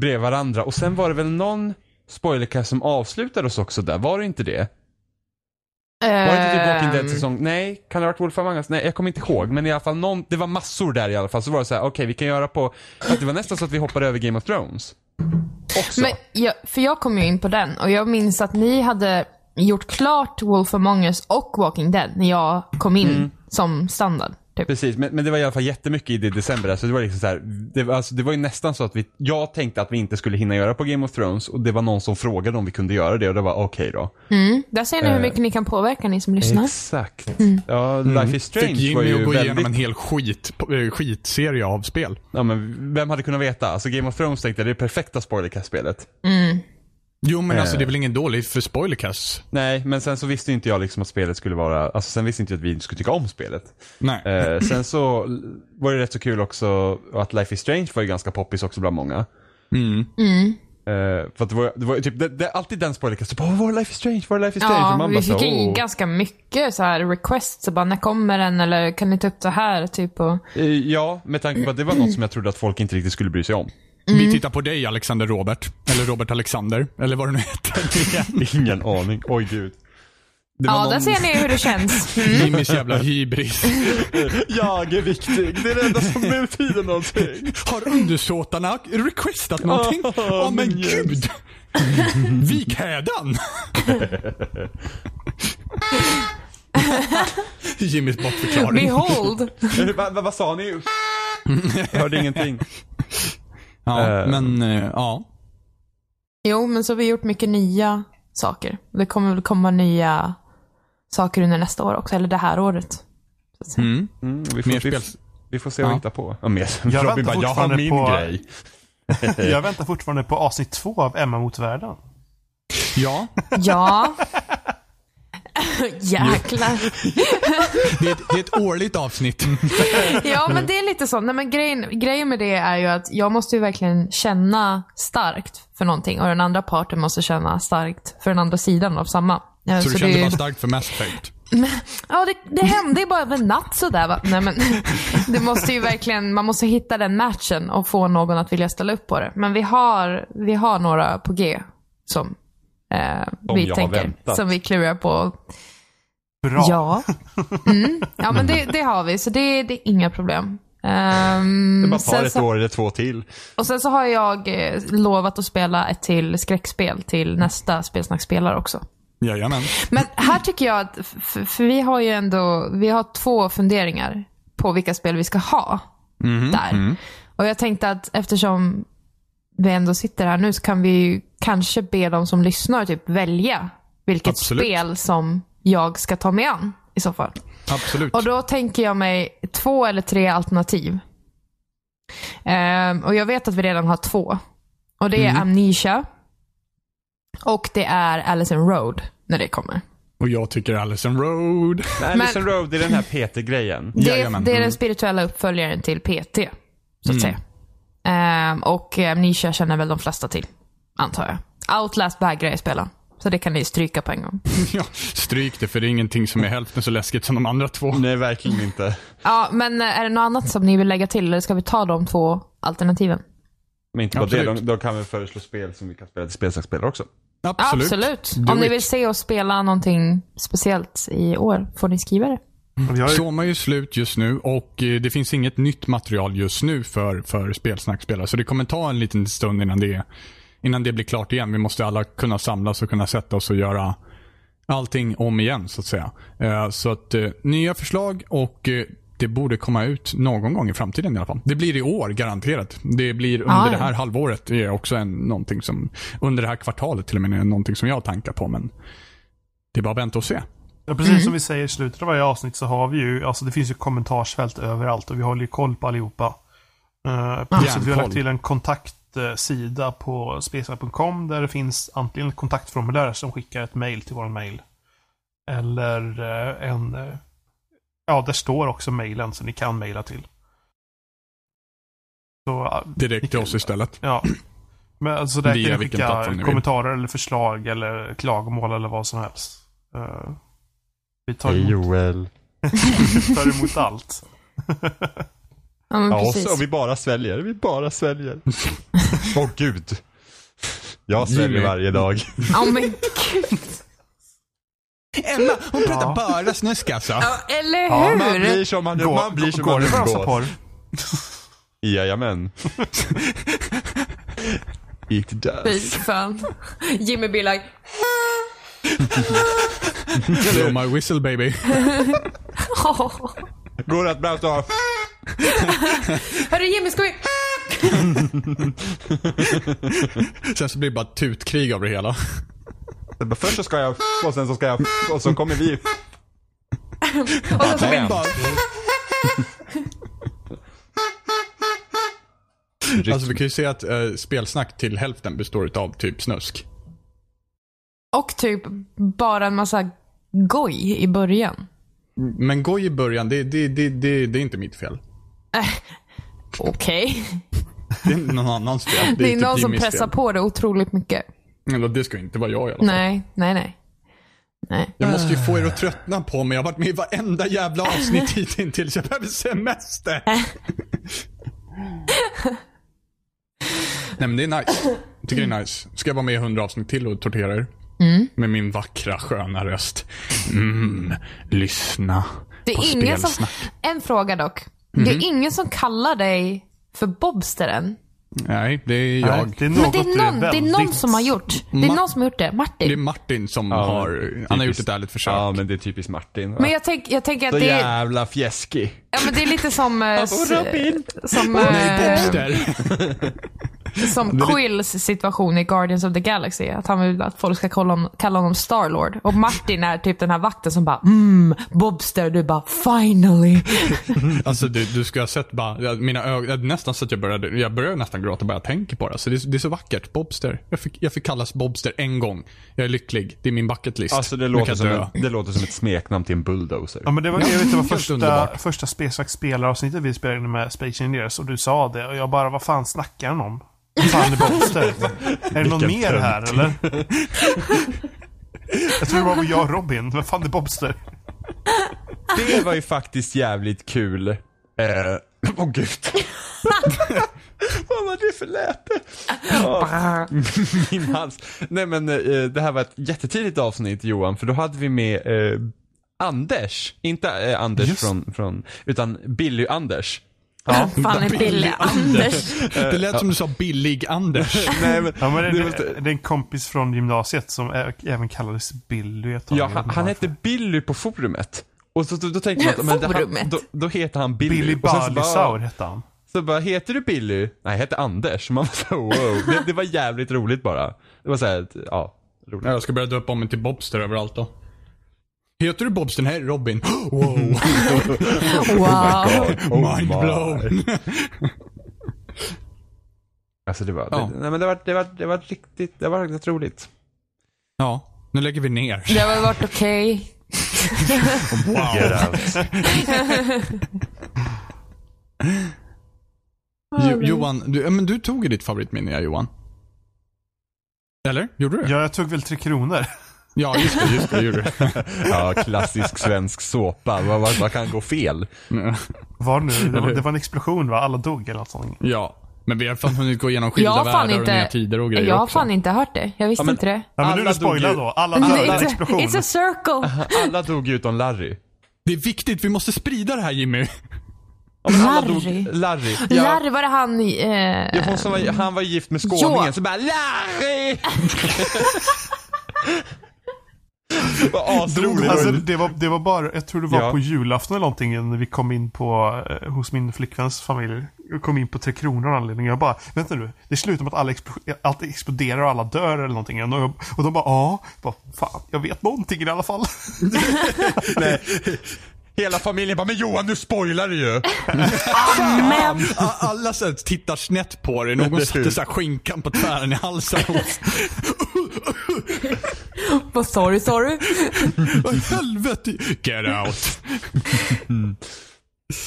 bredvid varandra. Och sen var det väl någon spoilercast som avslutade oss också där, var det inte det? Var det inte typ Walking Ehm. Dead säsong? Nej, kan det ha varit Wolf Among Us? Nej, jag kommer inte ihåg. Men i alla fall någon, det var massor där i alla fall. Så var det så här, okej vi kan göra på, att det var nästan så att vi hoppade över Game of Thrones. Också. Eh, Men jag, för jag kom ju in på den och jag minns att ni hade gjort klart Wolf Among Us och Walking Dead när jag kom in Mm. som standard. Typ. Precis, men, men det var i alla fall jättemycket i det i december. där, Så det, var liksom så här, det, var- alltså, det var ju nästan så att vi, jag tänkte att vi inte skulle hinna göra på Game of Thrones och det var någon som frågade om vi kunde göra det och det var okej då. Mm. Där ser ni hur mycket ni kan påverka ni som lyssnar. Eh. Exakt. Ja, Life is Mm. Fick Strange var Jimmy att ju gå igenom en väldigt... hel skit, eh, skitserie av spel. Ja, men vem hade kunnat veta? Alltså Game of Thrones tänkte jag, det är det perfekta spoilercast-spelet. Jo, men alltså Eh. det är väl ingen dåligt för spoilercast? Nej, men sen så visste inte jag liksom att spelet skulle vara, alltså sen visste inte jag att vi skulle tycka om spelet. Nej. Eh, sen så var det rätt så kul också att Life is Strange var ju ganska poppis också bland många. Mm. Mm. Eh, för att det var, det var ju typ, det, det är alltid den spoilerkasten. Bara, Vår Life is Strange, Vår Life is Strange. Och Ja, man vi bara så fick här, in "Åh." ganska mycket så här requests. Så bara, när kommer den? Eller kan ni ta upp det här? Typ och... Eh, Ja, med tanke på att det var något som jag trodde att folk inte riktigt skulle bry sig om. Vi tittar på dig Alexander Robert. Eller Robert Alexander. Eller vad du nu (laughs) heter. Ingen aning. Oj gud. Det var Ja, någon- där ser ni hur (laughs) det känns. Mm. Jimmys jävla hybris. (laughs) Jag är viktig. Det är det enda som betyder någonting. Har undersåtarna requestat någonting? Åh Åh, men men yes. gud! Vik hädan! Jimmys bortförklaring. Behold! Vad Eh, vad- vad sa (laughs) ni? Hörde ingenting. Ja, men eh, ja. Jo, men så har vi gjort mycket nya saker. Det kommer väl komma nya saker under nästa år också. Eller det här året. Mm. vi, får, vi, Mer spel. vi får se vad vi hittar på. Ja, mer, Jag väntar Robin bara, jag har fortfarande min på- grej. Jag väntar fortfarande på avsnitt två av Emma mot världen. Ja. Ja. (laughs) Jäklar. Det är, ett, det är ett årligt avsnitt. (laughs) Ja, men det är lite så. Nej, men grejen, grejen med det är ju att jag måste ju verkligen känna starkt för någonting och den andra parten måste känna starkt för den andra sidan av samma. Eh, Så du det kände är ju- bara starkt för Mass Effect? Ja, det, det hände ju bara över en natt sådär va. (laughs) Nej, men, det måste ju verkligen, man måste hitta den matchen och få någon att vilja ställa upp på det. Men vi har, vi har några på G som eh, Som jag vi har tänker, väntat. som vi klurar på. Bra. Ja. Mm. Ja, men det, det har vi, så det, det är inga problem. Ehm, Det bara tar sen ett så- år eller två till. Och sen så har jag eh, lovat att spela ett till skräckspel till nästa spelsnackspelare också. Jajamän. Men här tycker jag att, f- f- för vi har ju ändå, vi har två funderingar på vilka spel vi ska ha. Där. Och jag tänkte att eftersom vi ändå sitter här nu så kan vi ju kanske be de som lyssnar typ välja vilket Absolut. spel som jag ska ta mig an i så fall. Absolut. Och då tänker jag mig två eller tre alternativ. Ehm, och jag vet att vi redan har två. Och det är Mm. Amnesia. Och det är Alice in Road när det kommer. Och jag tycker Allison Road. (laughs) Nej, Alison Road det är den här Peter-grejen. Det, Jajamän. det är Mm. den spirituella uppföljaren till PT. Så Mm. att säga. Ehm, och Amnesia känner väl de flesta till. Antar jag. Outlast vägrar jag spela. Så det kan ni stryka på en gång. Ja, stryk det för det är ingenting som är hälften så läskigt som de andra två. Nej, verkligen inte. Ja, men eh, är det något annat som ni vill lägga till eller ska vi ta de två alternativen? Men inte bara det, Absolut. de, de kan väl föreslå spel som vi kan spela till spelsaksspelare också. Absolut. Do Om ni it. vill se oss spela någonting speciellt i år får ni skriva det. Soma är ju slut just nu och eh, det finns inget nytt material just nu för, för spelsnackspelare. Så det kommer ta en liten stund innan det, innan det blir klart igen. Vi måste alla kunna samlas och kunna sätta oss och göra allting om igen så att säga. Eh, Så att eh, nya förslag och eh, det borde komma ut någon gång i framtiden i alla fall. Det blir i år garanterat. Det blir under Ah, ja. det här halvåret. Det är också en, någonting som, under det här kvartalet till och med, är någonting som jag tankar på. Men det är bara att vänta och se. Ja, precis som vi säger i slutet av varje avsnitt så har vi ju, alltså det finns ju kommentarsfält överallt och vi håller ju koll på allihopa. Uh, plus att vi har Järnkoll. lagt till en kontaktsida på spesa.com där det finns antingen ett kontaktformulär som skickar ett mail till vår mail. Eller eh, en, eh, ja där står också mailen som ni kan mejla till. Så, ja, Direkt till oss istället. Ja. Men alltså där Via kan ni vilken skicka plattform ni vill. kommentarer eller förslag eller klagomål eller vad som helst. Eh, vi tar Hej emot, Joel. vi tar emot allt. Ja, men Ja, och precis. så, och vi bara sväljer. Vi bara sväljer. Åh gud. Jag sväljer Jimmy. varje dag. Ja, men gud. Emma, hon pratar bara snusk alltså. Ja, eller (laughs) Ja, hur? man blir som man, Går- man blir som går man det för rosa umgås. porr? Jajamän. It Fy does. fan. Jimmy blir like, Blow my whistle baby. (laughs) "Åh." Går det att prata Hörru Jimmy, ska vi... Sen så blir det bara tutkrig av det hela. Först så ska jag och sen så ska jag och så kommer vi. Och så, så Bam. blir... Alltså vi kan ju se att eh, spelsnack till hälften består av typ snusk. Och typ bara en massa goj i början. Men gå i början, det, det, det, det, det är inte mitt fel. Äh, Okej. Det är någon annans fel. Det är, typ någon som Jimmys fel. pressar på det otroligt mycket. Eller det ska inte vara jag i alla fall. Nej, nej, nej. nej. Jag måste ju få er Ah. att tröttna på mig. Jag har varit med i varenda jävla (laughs) avsnitt hittills. Jag behöver semester. Äh. Nej men det är nice. Jag tycker det är nice. Ska jag vara med i 100 avsnitt till och tortera er? Mm. Med min vackra sköna röst. Mm, lyssna Det på är ingen som, spelsnack. en fråga dock. Det Mhm. är ingen som kallar dig för Bobster än. Nej, det är jag. det är Men det är, någon, det är någon som har gjort. Det är Ma- någon som har gjort det. Martin. Det är Martin som har, han har gjort ett ärligt försök. Ja, men det är typiskt Martin. Men jag, tänk, jag tänker att Så det är, jävla fjäskig. ja, men det är lite (laughs) som... eh, s- som, eh, Nej, som Det är li- Quills situation i Guardians of the Galaxy. Att han vill att folk ska kalla honom, kalla honom Starlord. Och Martin är typ den här vakten som bara mm, Bobster. Du bara finally. alltså du, du ska ha sett bara, ja, mina ögon, ja, nästan så att jag började, jag började nästan gråta bara jag tänker på det. Så det, är så- det är så vackert. Bobster. Jag fick, jag fick kallas Bobster en gång. Jag är lycklig. Det är min bucket list. Alltså det Nu låter, kan som jag en, det låter som ett smeknamn till en bulldozer. Ja, men det var, jag vet inte, det var Helt första, underbart. första Spesvax spelaravsnittet vi spelade in med Space Engineers och du sa det och jag bara, vad fan snackar han om? Vad fan är (laughs) Bobster? är det någon Vilken mer tönt. här eller? (laughs) jag tror det var jag och Robin. Vad fan är Bobster? Det var ju faktiskt jävligt kul. Eh, Åh gud. Vad var det för läte? Ja. (laughs) Min hals. Nej men eh, det här var ett jättetidigt avsnitt Johan, för då hade vi med eh, Anders. Inte eh, Anders från, från, utan Billy-Anders. Ja. Fan är Billy Anders. (laughs) Det lät som du sa Billig Anders. Eh, (laughs) Nej, men, Ja, men det, det det, är väl typ- är en kompis från gymnasiet som ä- även kallades Billy ett tag. Ja, Jag vet han, inte han varför. hette Billy på forumet. Och så, då, då tänkte man att men, det, han, Forumet? då, då heter han Billy. Billy Och sen så bara- Balisaur hette han. Så bara, heter du Billy? Nej, jag heter Anders. Man var så, wow. det, det var jävligt roligt bara. Det var såhär, ja. Roligt. Ja, jag ska börja döpa om mig till Bobster överallt då. Heter du Bobster? Nej, Robin. (gasps) (laughs) Wow. Wow. Oh Mind blown. (laughs) Alltså det var, Ja. det, nej men det var, det var, det var riktigt, det var riktigt roligt. Ja, nu lägger vi ner. Det har väl varit okej. Jo, Johan, du, ja, men du tog ju ditt favoritminne ja, Johan. Eller? Gjorde du det? Ja, jag tog väl Tre Kronor. (laughs) Ja, just det. Just det, gjorde du. (laughs) Ja, klassisk svensk såpa. Vad, vad, vad kan gå fel? Var det nu? Det var, det var en explosion va? Alla dog eller något sånt. Ja, men vi har fan hunnit gå igenom Jag skilda har fan världar och nya inte, tider och grejer jag har också. fan inte hört det. Jag visste Ja, men- inte det. Ja, men nu är Alla du dog spoilad ju. då. Alla Men dör det- av en it's, a, explosion. it's a circle. Alla dog ju utom Larry. Det är viktigt, vi måste sprida det här Jimmy. Ja, men alla dog- Larry. Larry. Ja, Larry, var det han i... Eh, ja, hon som var, han var gift med skåningen, Ja. så bara Larry! (laughs) Vad asroligt. Alltså, det, var, det var bara, jag tror det var Ja. på julafton eller någonting när vi kom in på, eh, hos min flickväns familj. Jag kom in på Tre Kronor av anledning. Jag bara, vänta nu. Det slutar med att alla expl- allt exploderar och alla dör eller någonting. Och de- och de bara, ja. Jag bara, Fan, jag vet någonting i alla fall. Nej. (laughs) Hela familjen bara, men Johan du spoilar det ju. men, (laughs) A- Alla så här tittar snett på dig. Någon satte så här skinkan på tvären i (laughs) halsen. vad sorry, sorry. Vad i helvete? Get out. I'm the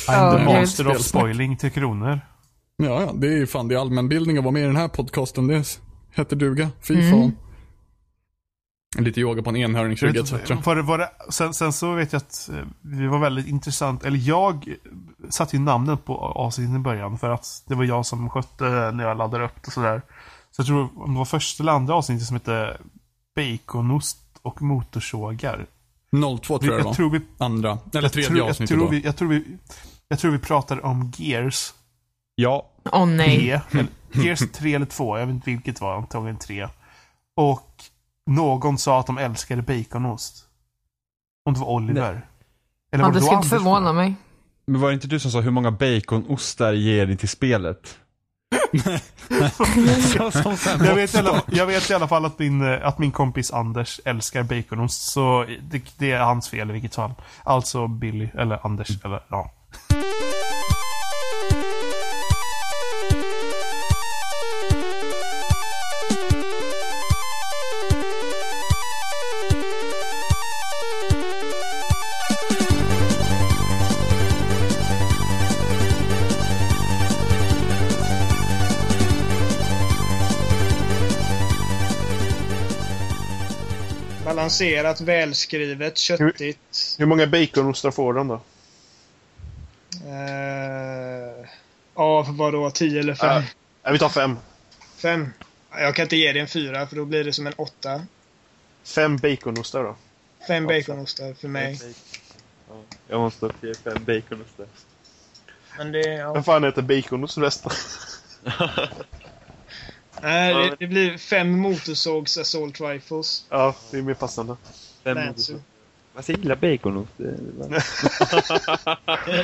Ja, master det är of spoiling Tre Kronor. Ja, ja, det är ju fan det är allmänbildning att vara med i den här podcasten. Det s- heter duga. Fy Mm. fan. Lite yoga på en enhörningsrygg Jag vet etc. inte, Var det, var det, sen, sen så vet jag att eh, vi var väldigt intressant, eller jag eh, satte ju namnet på avsnittet i början för att det var jag som skötte det när jag laddade upp det och sådär. Så jag tror om det var första eller andra avsnittet som hette Baconost och motorsågar. 02 Vi- tror jag det jag var. tror vi- Andra. Eller Jag tredje tror, jag, avsnittet tror då. vi, jag, tror vi, jag tror vi pratade om Gears Ja, Åh nej. 3. eller- Gears 3 eller 2, jag vet inte vilket det var, antagligen 3. Och någon sa att de älskade baconost. Om det var Oliver. Eller Ja, det då ska inte Anders? förvåna mig. men var det inte du som sa hur många baconostar ger ni till spelet? som, som sen (laughs) Jag vet, i alla, jag vet i alla fall att min, eh, att min kompis Anders älskar baconost. Så det, det är hans fel i vilket fall. Alltså Billy, eller Mm. Anders, eller ja. Balanserat, välskrivet, köttigt. Hur många baconostar får den då? Eh, av vadå, 10 eller 5? Nej, vi tar fem. 5. Jag kan inte ge dig en 4 för då blir det som en 8. Fem baconostar då. 5 baconostar för mig. Jag måste ha fyra, fem baconostar. Men det, ja. Vem fan äter baconost resten? Nej, det, det blir fem motorsågs assault rifles. (laughs) ja, det är mer passande. Lancer. Man så gillar baconost. det är bara-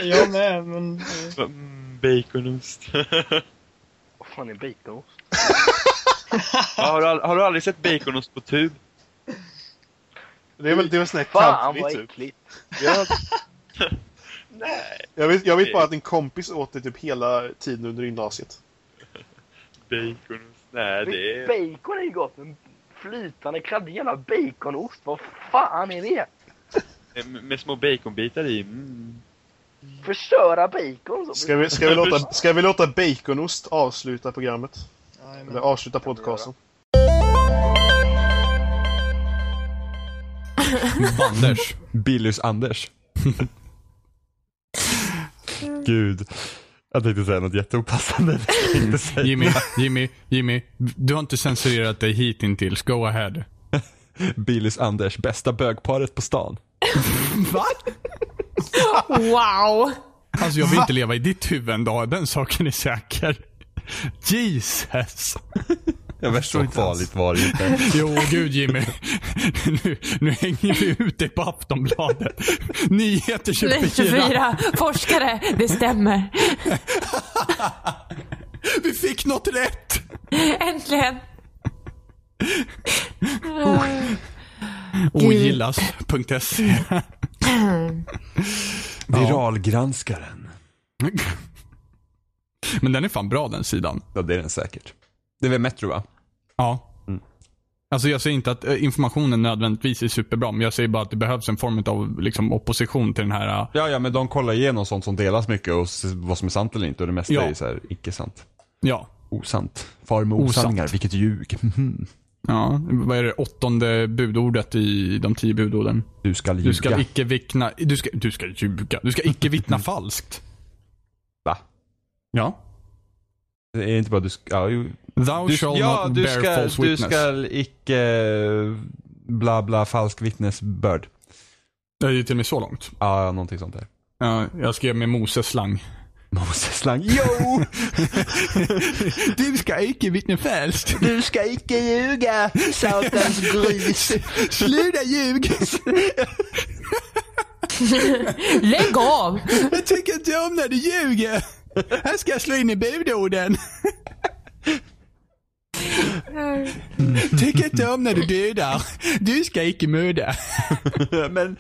Jag med, men... Mm, Baconost. Vad fan är baconost? Ja, har, du, al- har du aldrig sett baconost på tub? Det är väl, det är väl sån här Fan country vad typ. äckligt. Ja. Jag vet, jag vet bara att en kompis åt det typ hela tiden under gymnasiet. Baconost. Nej, det är... Bacon är ju gott, men flytande kladdig jävla baconost, vad fan är det? Med, med små baconbitar i. Mm. Förstöra bacon så. Ska vi, ska vi, låta, ska vi låta baconost avsluta programmet? Eller avsluta podcasten? Anders. Billys Anders. Gud. Jag tänkte säga något jätteopassande. Jag tänkte säga. Jimmy, Jimmy, Jimmy. Du har inte censurerat dig hittills. Go ahead. Billys Anders, bästa bögparet på stan. Va? Wow! Alltså jag vill inte leva i ditt huvud en dag. Den saken är säker. Jesus. Jag förstår så inte alls. farligt var det inte. Jo, gud Jimmy. Nu, nu hänger vi ut dig på Aftonbladet. Nyheter 24. Nej, 24 forskare, det stämmer. Vi fick något rätt. Äntligen. Gud. Ogillas.se. (laughs) Viralgranskaren. Men den är fan bra den sidan. Ja, det är den säkert. Det är väl Metro va? Ja. Alltså jag säger inte att eh, informationen nödvändigtvis är superbra, men jag säger bara att det behövs en form av liksom, opposition till den här. eh, Ja, ja, men de kollar igenom sånt som delas mycket och s- vad som är sant eller inte. Och det mesta Ja. är så här icke sant. Ja. Osant. Far med osanningar, vilket ljug. (laughs) Mhm. Ja, vad är det åttonde budordet i de tio budorden? Du ska ljuga. Du ska icke vittna, du ska, du ska ljuga. Du ska icke vittna falskt. Va? Ja. Det är inte bara du ska... Ja, jo. Thou shall Oh, ja, not du bear ska, false du witness. ska icke eh, bla bla falsk vittnesbörd. Det är ju till och med så långt. Ja, någonting sånt där. Ja, jag skrev med Moses slang. Moses slang. Jo! (laughs) (laughs) du ska icke vittna falskt. Du ska icke ljuga, satans (laughs) gris. Sluta ljug. Lägg av! Jag tycker inte om när du ljuger. Här ska jag slå in i budorden. Tycker inte om när du dödar. Du ska icke mörda. men...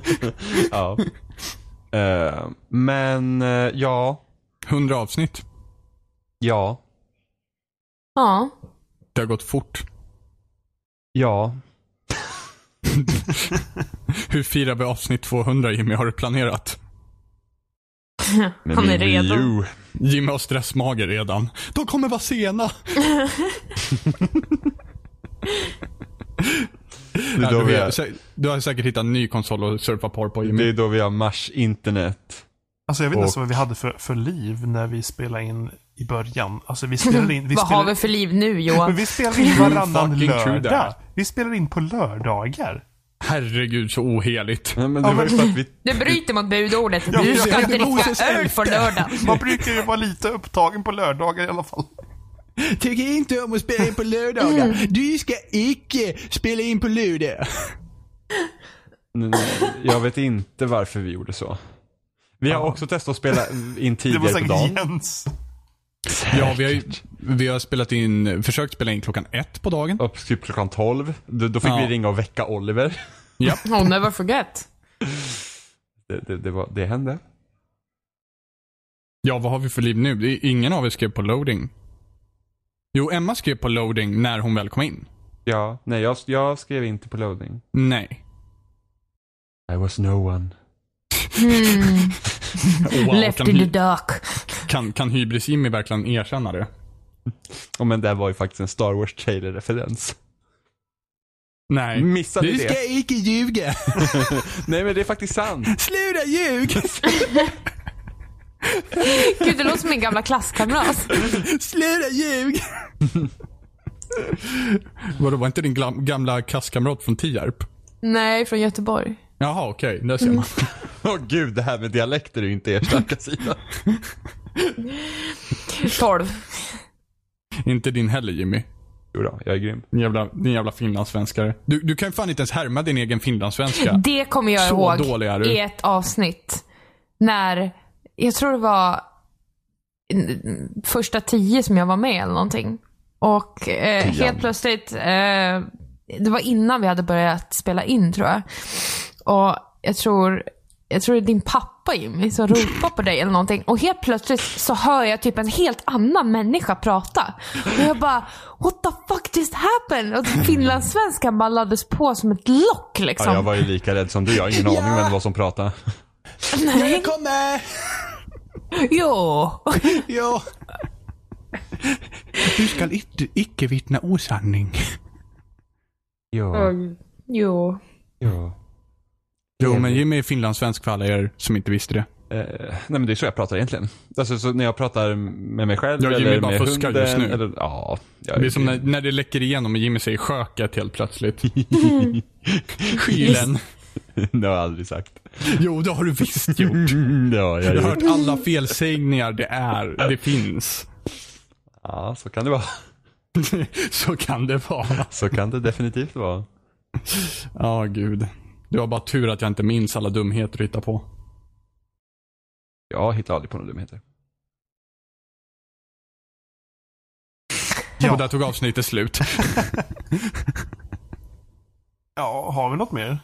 (laughs) ja. Eh, men, eh, ja. 100 avsnitt. Ja. Ja. Det har gått fort. Ja. Hur firar vi avsnitt 200 Jimmy? Har du planerat? Med Han är min redo. Wii U. Jimmy har stressmage redan. De kommer vara sena. Det Ja, är då du, vi vet- är, sä- du har säkert hittat en ny konsol att surfa porr på Jimmy. det är då vi har mars-internet. Alltså jag vet inte ens Och- vad vi hade för, för liv när vi spelade in i början. Alltså vi spelade in... Vi Vad har spelade, vi för liv nu Johan? men vi spelade in varannan Fucking true lördag. that. Vi spelade in på lördagar. Herregud så oheligt. (laughs) Nej, men Ja, det var ju men- för att vi... Du bryter mot budordet. Ja, Du men ska jag inte är Moses dricka öl hjälte. på lördag. Man brukar ju vara lite upptagen på lördagar i alla fall. Tycker inte om att spela in på Mm. lördagar. Du ska icke spela in på lördag. n- n- Jag vet inte varför vi gjorde så. Vi har också testat att spela in Det var tidigare på säkert dagen. Jens. Ja, vi har, ju- vi har spelat in, försökt spela in klockan ett på dagen. Upp typ klockan 12. Då, då fick Ja. vi ringa och väcka Oliver. Ja. Oh, never forget. Det, det, det, var, det hände. Ja, vad har vi för liv nu? Det är- Ingen av er skrev på loading. Jo, Emma skrev på loading när hon väl kom in. Ja, nej jag, jag skrev inte på loading. Nej. I was no one. Hmm. Wow, Left kan, in the hy- dark. kan, kan Hybris-Jimmy verkligen erkänna det? Ja, men det här var ju faktiskt en Star Wars trailer-referens. Nej. Missade du det. ska icke ljuga. (laughs) Nej men det är faktiskt sant. Sluta ljug! (laughs) Gud, det låter som min gamla klasskamrat. Sluta (laughs) ljug! Vadå, var inte din glam- gamla klasskamrat från Tierp? Nej, från Göteborg. Jaha, okej. Där ser man. (laughs) Mm. (laughs) Åh gud, det här med dialekter är ju inte er (laughs) starka sida. 12. inte din heller Jimmy. Jodå, jag är grym. Din jävla, din jävla finlandssvenskare. Du, du kan ju fan inte ens härma din (laughs) egen finlandssvenska. Det kommer jag Så ihåg dålig är du. i ett avsnitt. När, jag tror det var mm, första tio som jag var med eller någonting. Och eh, Tian. helt plötsligt, eh, det var innan vi hade börjat spela in tror jag. Och jag tror, jag tror det är din pappa Jimmy som ropar på dig eller någonting. Och helt plötsligt så hör jag typ en helt annan människa prata. Och jag bara, what the fuck just happened? Och finlandssvenskan bara lades på som ett lock liksom. Ja, jag var ju lika rädd som du. Jag har ingen aning om vem det var som pratade. Nej. Jag kommer! Jo. jo. Du ska inte, icke vittna osanning. Mm. Jo. Ja. Jo, men Jimmy är finlandssvensk för alla er som inte visste det. Eh, (laughs) nej men det är så jag pratar egentligen. Alltså så när jag pratar med mig själv Ja, Jimmy eller bara med fuskar hunden. just nu. Eller, ja, jag det är som när, när det läcker igenom och Jimmy säger sköket (laughs) helt plötsligt. Skylen. det har jag aldrig sagt. Jo, det har du visst gjort. (laughs) Ja, jag har jag har gjort. hört alla felsägningar det är. Det finns. Ja, så kan det vara. (laughs) så kan det vara. Så kan det definitivt vara. Ja, gud. Det var bara tur att jag inte minns alla dumheter du hittar på. Jag hittar aldrig på några dumheter. Och där tog avsnittet slut. Ja, har vi något mer?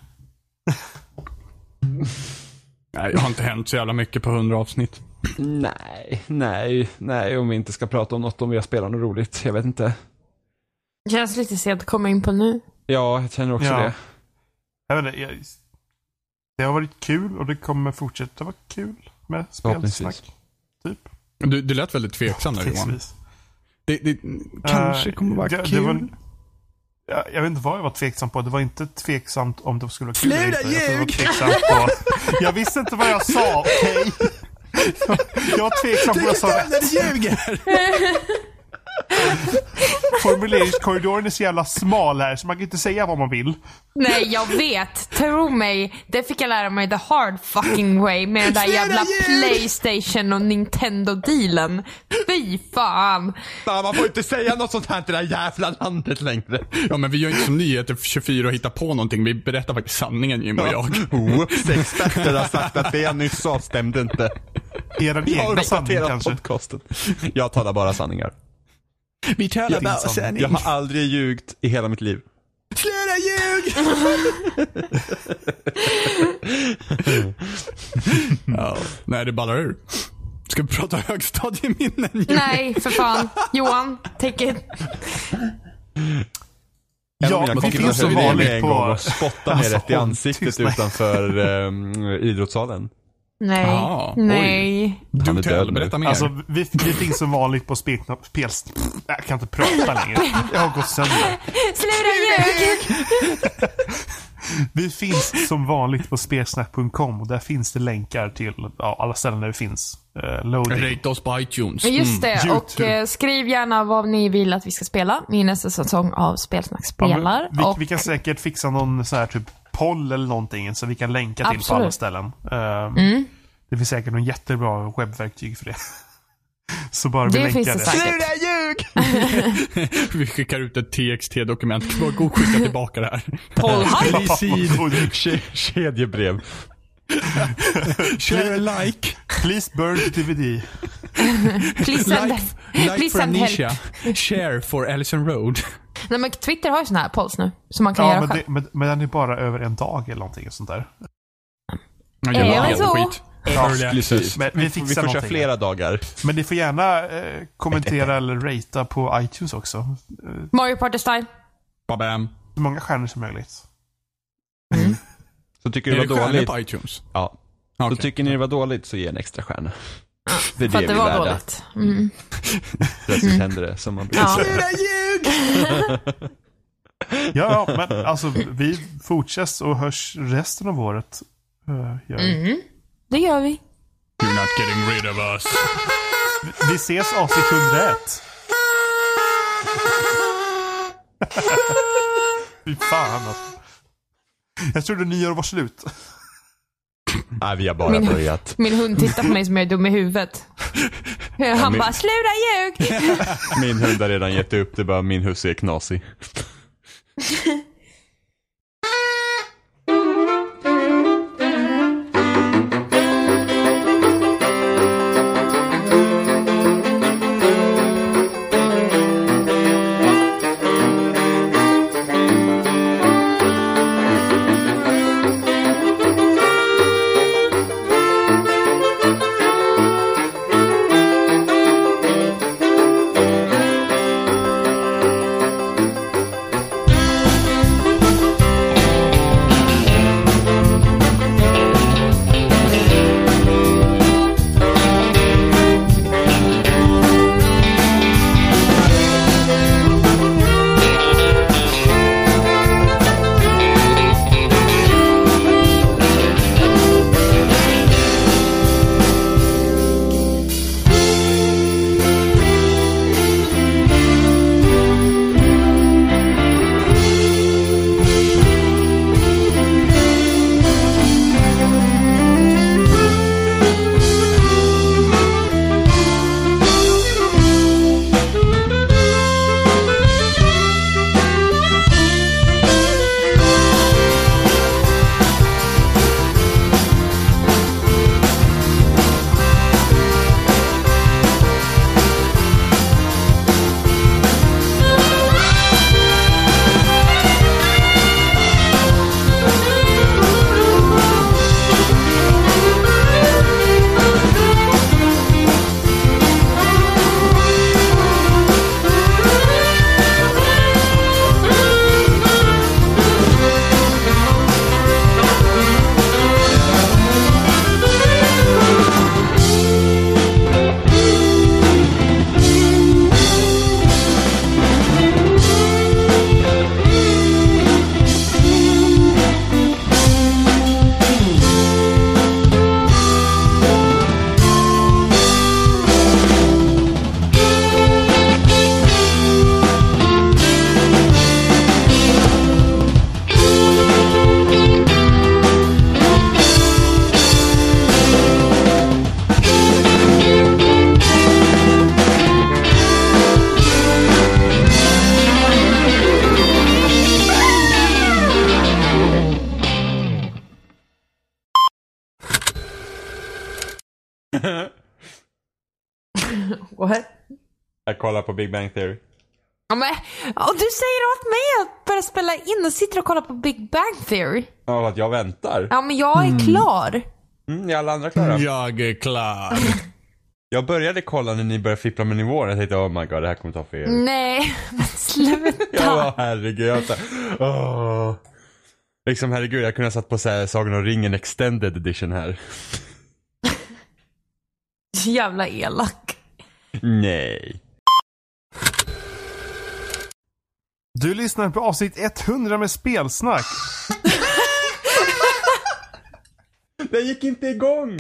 Nej, det har inte hänt så jävla mycket på hundra avsnitt. Nej, nej, nej om vi inte ska prata om något om vi har spelat något roligt. Jag vet inte. Känns lite sent att komma in på nu. Ja, jag känner också Ja. det. Jag vet inte, jag, det har varit kul och det kommer fortsätta vara kul med Förhoppningsvis. spelsnack. Typ. Du, du lät väldigt tveksam där Johan. Förhoppningsvis. Det, det kanske Eh, kommer vara det- det kul. var- Ja, jag vet inte vad jag var tveksam på. Det var inte tveksamt om det skulle vara kul eller Sluta inte. Jag tror det var ljug! tveksamt på... Jag visste inte vad jag sa, okej? Jag var tveksam på vad jag sa rätt. när du ljuger! Formuleringskorridoren är så jävla smal här så man kan inte säga vad man vill. Nej, jag vet. Tro mig. Det fick jag lära mig the hard fucking way med den där Sluta jävla ljug! Playstation och Nintendo-dealen. Fy fan. Fan, man får inte säga något sånt här till det här jävla landet längre. Ja, men vi gör inte som nyheter 24 och hittar på någonting. Vi berättar faktiskt sanningen Jim och jag. Whoops, experter har sagt att det jag nyss sa stämde inte. Eran Jag har egna sanning uppdaterat kanske. podcasten. Jag talar bara sanningar. (laughs) Vi talar bara sanning. Jag har aldrig ljugit i hela mitt liv. Sluta ljug! ja, nej, det ballar ur. Ska vi prata högstadieminnen Jimmy? Nej, för fan. Johan, take it. En av Ja, mina det kompisar finns som höll i mig vanligt en gång på... och spottade mig Alltså, rätt i åh, ansiktet tyst, nej. utanför ehm, idrottssalen. Nej. Ah, oj. Nej. Han är död nu. Alltså, vi, vi finns som vanligt på spelknapp... Spels... Jag kan inte prata längre. Jag har gått sönder. Sluta ljug! Vi finns som vanligt på spelsnack.com och där finns det länkar till ja, alla ställen där vi finns. Uh, loading. Rate oss på iTunes. Men Just det, Mm, och YouTube. eh, skriv gärna vad ni vill att vi ska spela i nästa säsong av Spelsnack Ja, men spelar. vi, och vi kan säkert fixa någon så här typ poll eller någonting så vi kan länka till på Absolut. alla ställen. Ehm, Mm. Det finns säkert någon jättebra webbverktyg för det. (laughs) Så bara vi det länkar finns det det. (laughs) säkert. ljug! (laughs) Vi skickar ut ett TXT-dokument. Var god skicka tillbaka det här. Paul Please see. Ke- Kedjebrev. Share a like. Please burn the DVD. Please send, Like, like please for send Amnesia. help. Share for Ellison Road. Nej, men Twitter har ju såna här polls nu, som man kan Ja, göra men, själv. det, men, men den är bara över en dag eller någonting sånt där. Ja, Är det så? Ja, Early access. Precis. Men vi vi, fixar får köra någonting. flera dagar. Men ni får gärna eh, kommentera eller ratea på iTunes också. Eh, Mario Party Style. Babam. Så många stjärnor som möjligt. Mm. Mm. Så tycker Är ni det det var stjärnor dåligt. på iTunes? Ja. Okej. Så tycker ni det var dåligt så ge en extra stjärna. Det är För det, att det vi är var värda. dåligt. Mm. Plötsligt händer det som man brukar Ja. säga. ljug! Ja, ja, men alltså vi fortsätts och hörs resten av året. eh, gör vi. Mm. Det gör vi. You're not getting rid of us. Vi ses avsnitt 101. (laughs) Fy fan alltså. Jag trodde nyår var slut. Nej, vi har bara Min- börjat. Min hund tittar på mig som jag är dum i huvudet. Han min- bara, sluta ljug! (laughs) Min hund har redan gett upp, det är bara min husse är knasig. What? Jag kollar på Big Bang Theory. Ja, men, och du säger åt mig att börja spela in och sitter och kollar på Big Bang Theory. Av att jag väntar. Ja, men jag är klar. Mm, är alla andra klara? Jag är klar. Jag började kolla när ni började fippla med nivåer. Jag tänkte oh my god, det här kommer ta fel. Mm. Nej, (laughs) men sluta. Jag bara, herregud. Jag bara, åh. Liksom herregud, jag kunde ha satt på så här, Sagan om ringen extended edition här. Så jävla elak. Nej. Du lyssnar på avsnitt 100 med spelsnack. Den gick inte igång.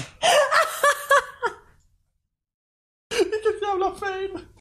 Vilket jävla fail!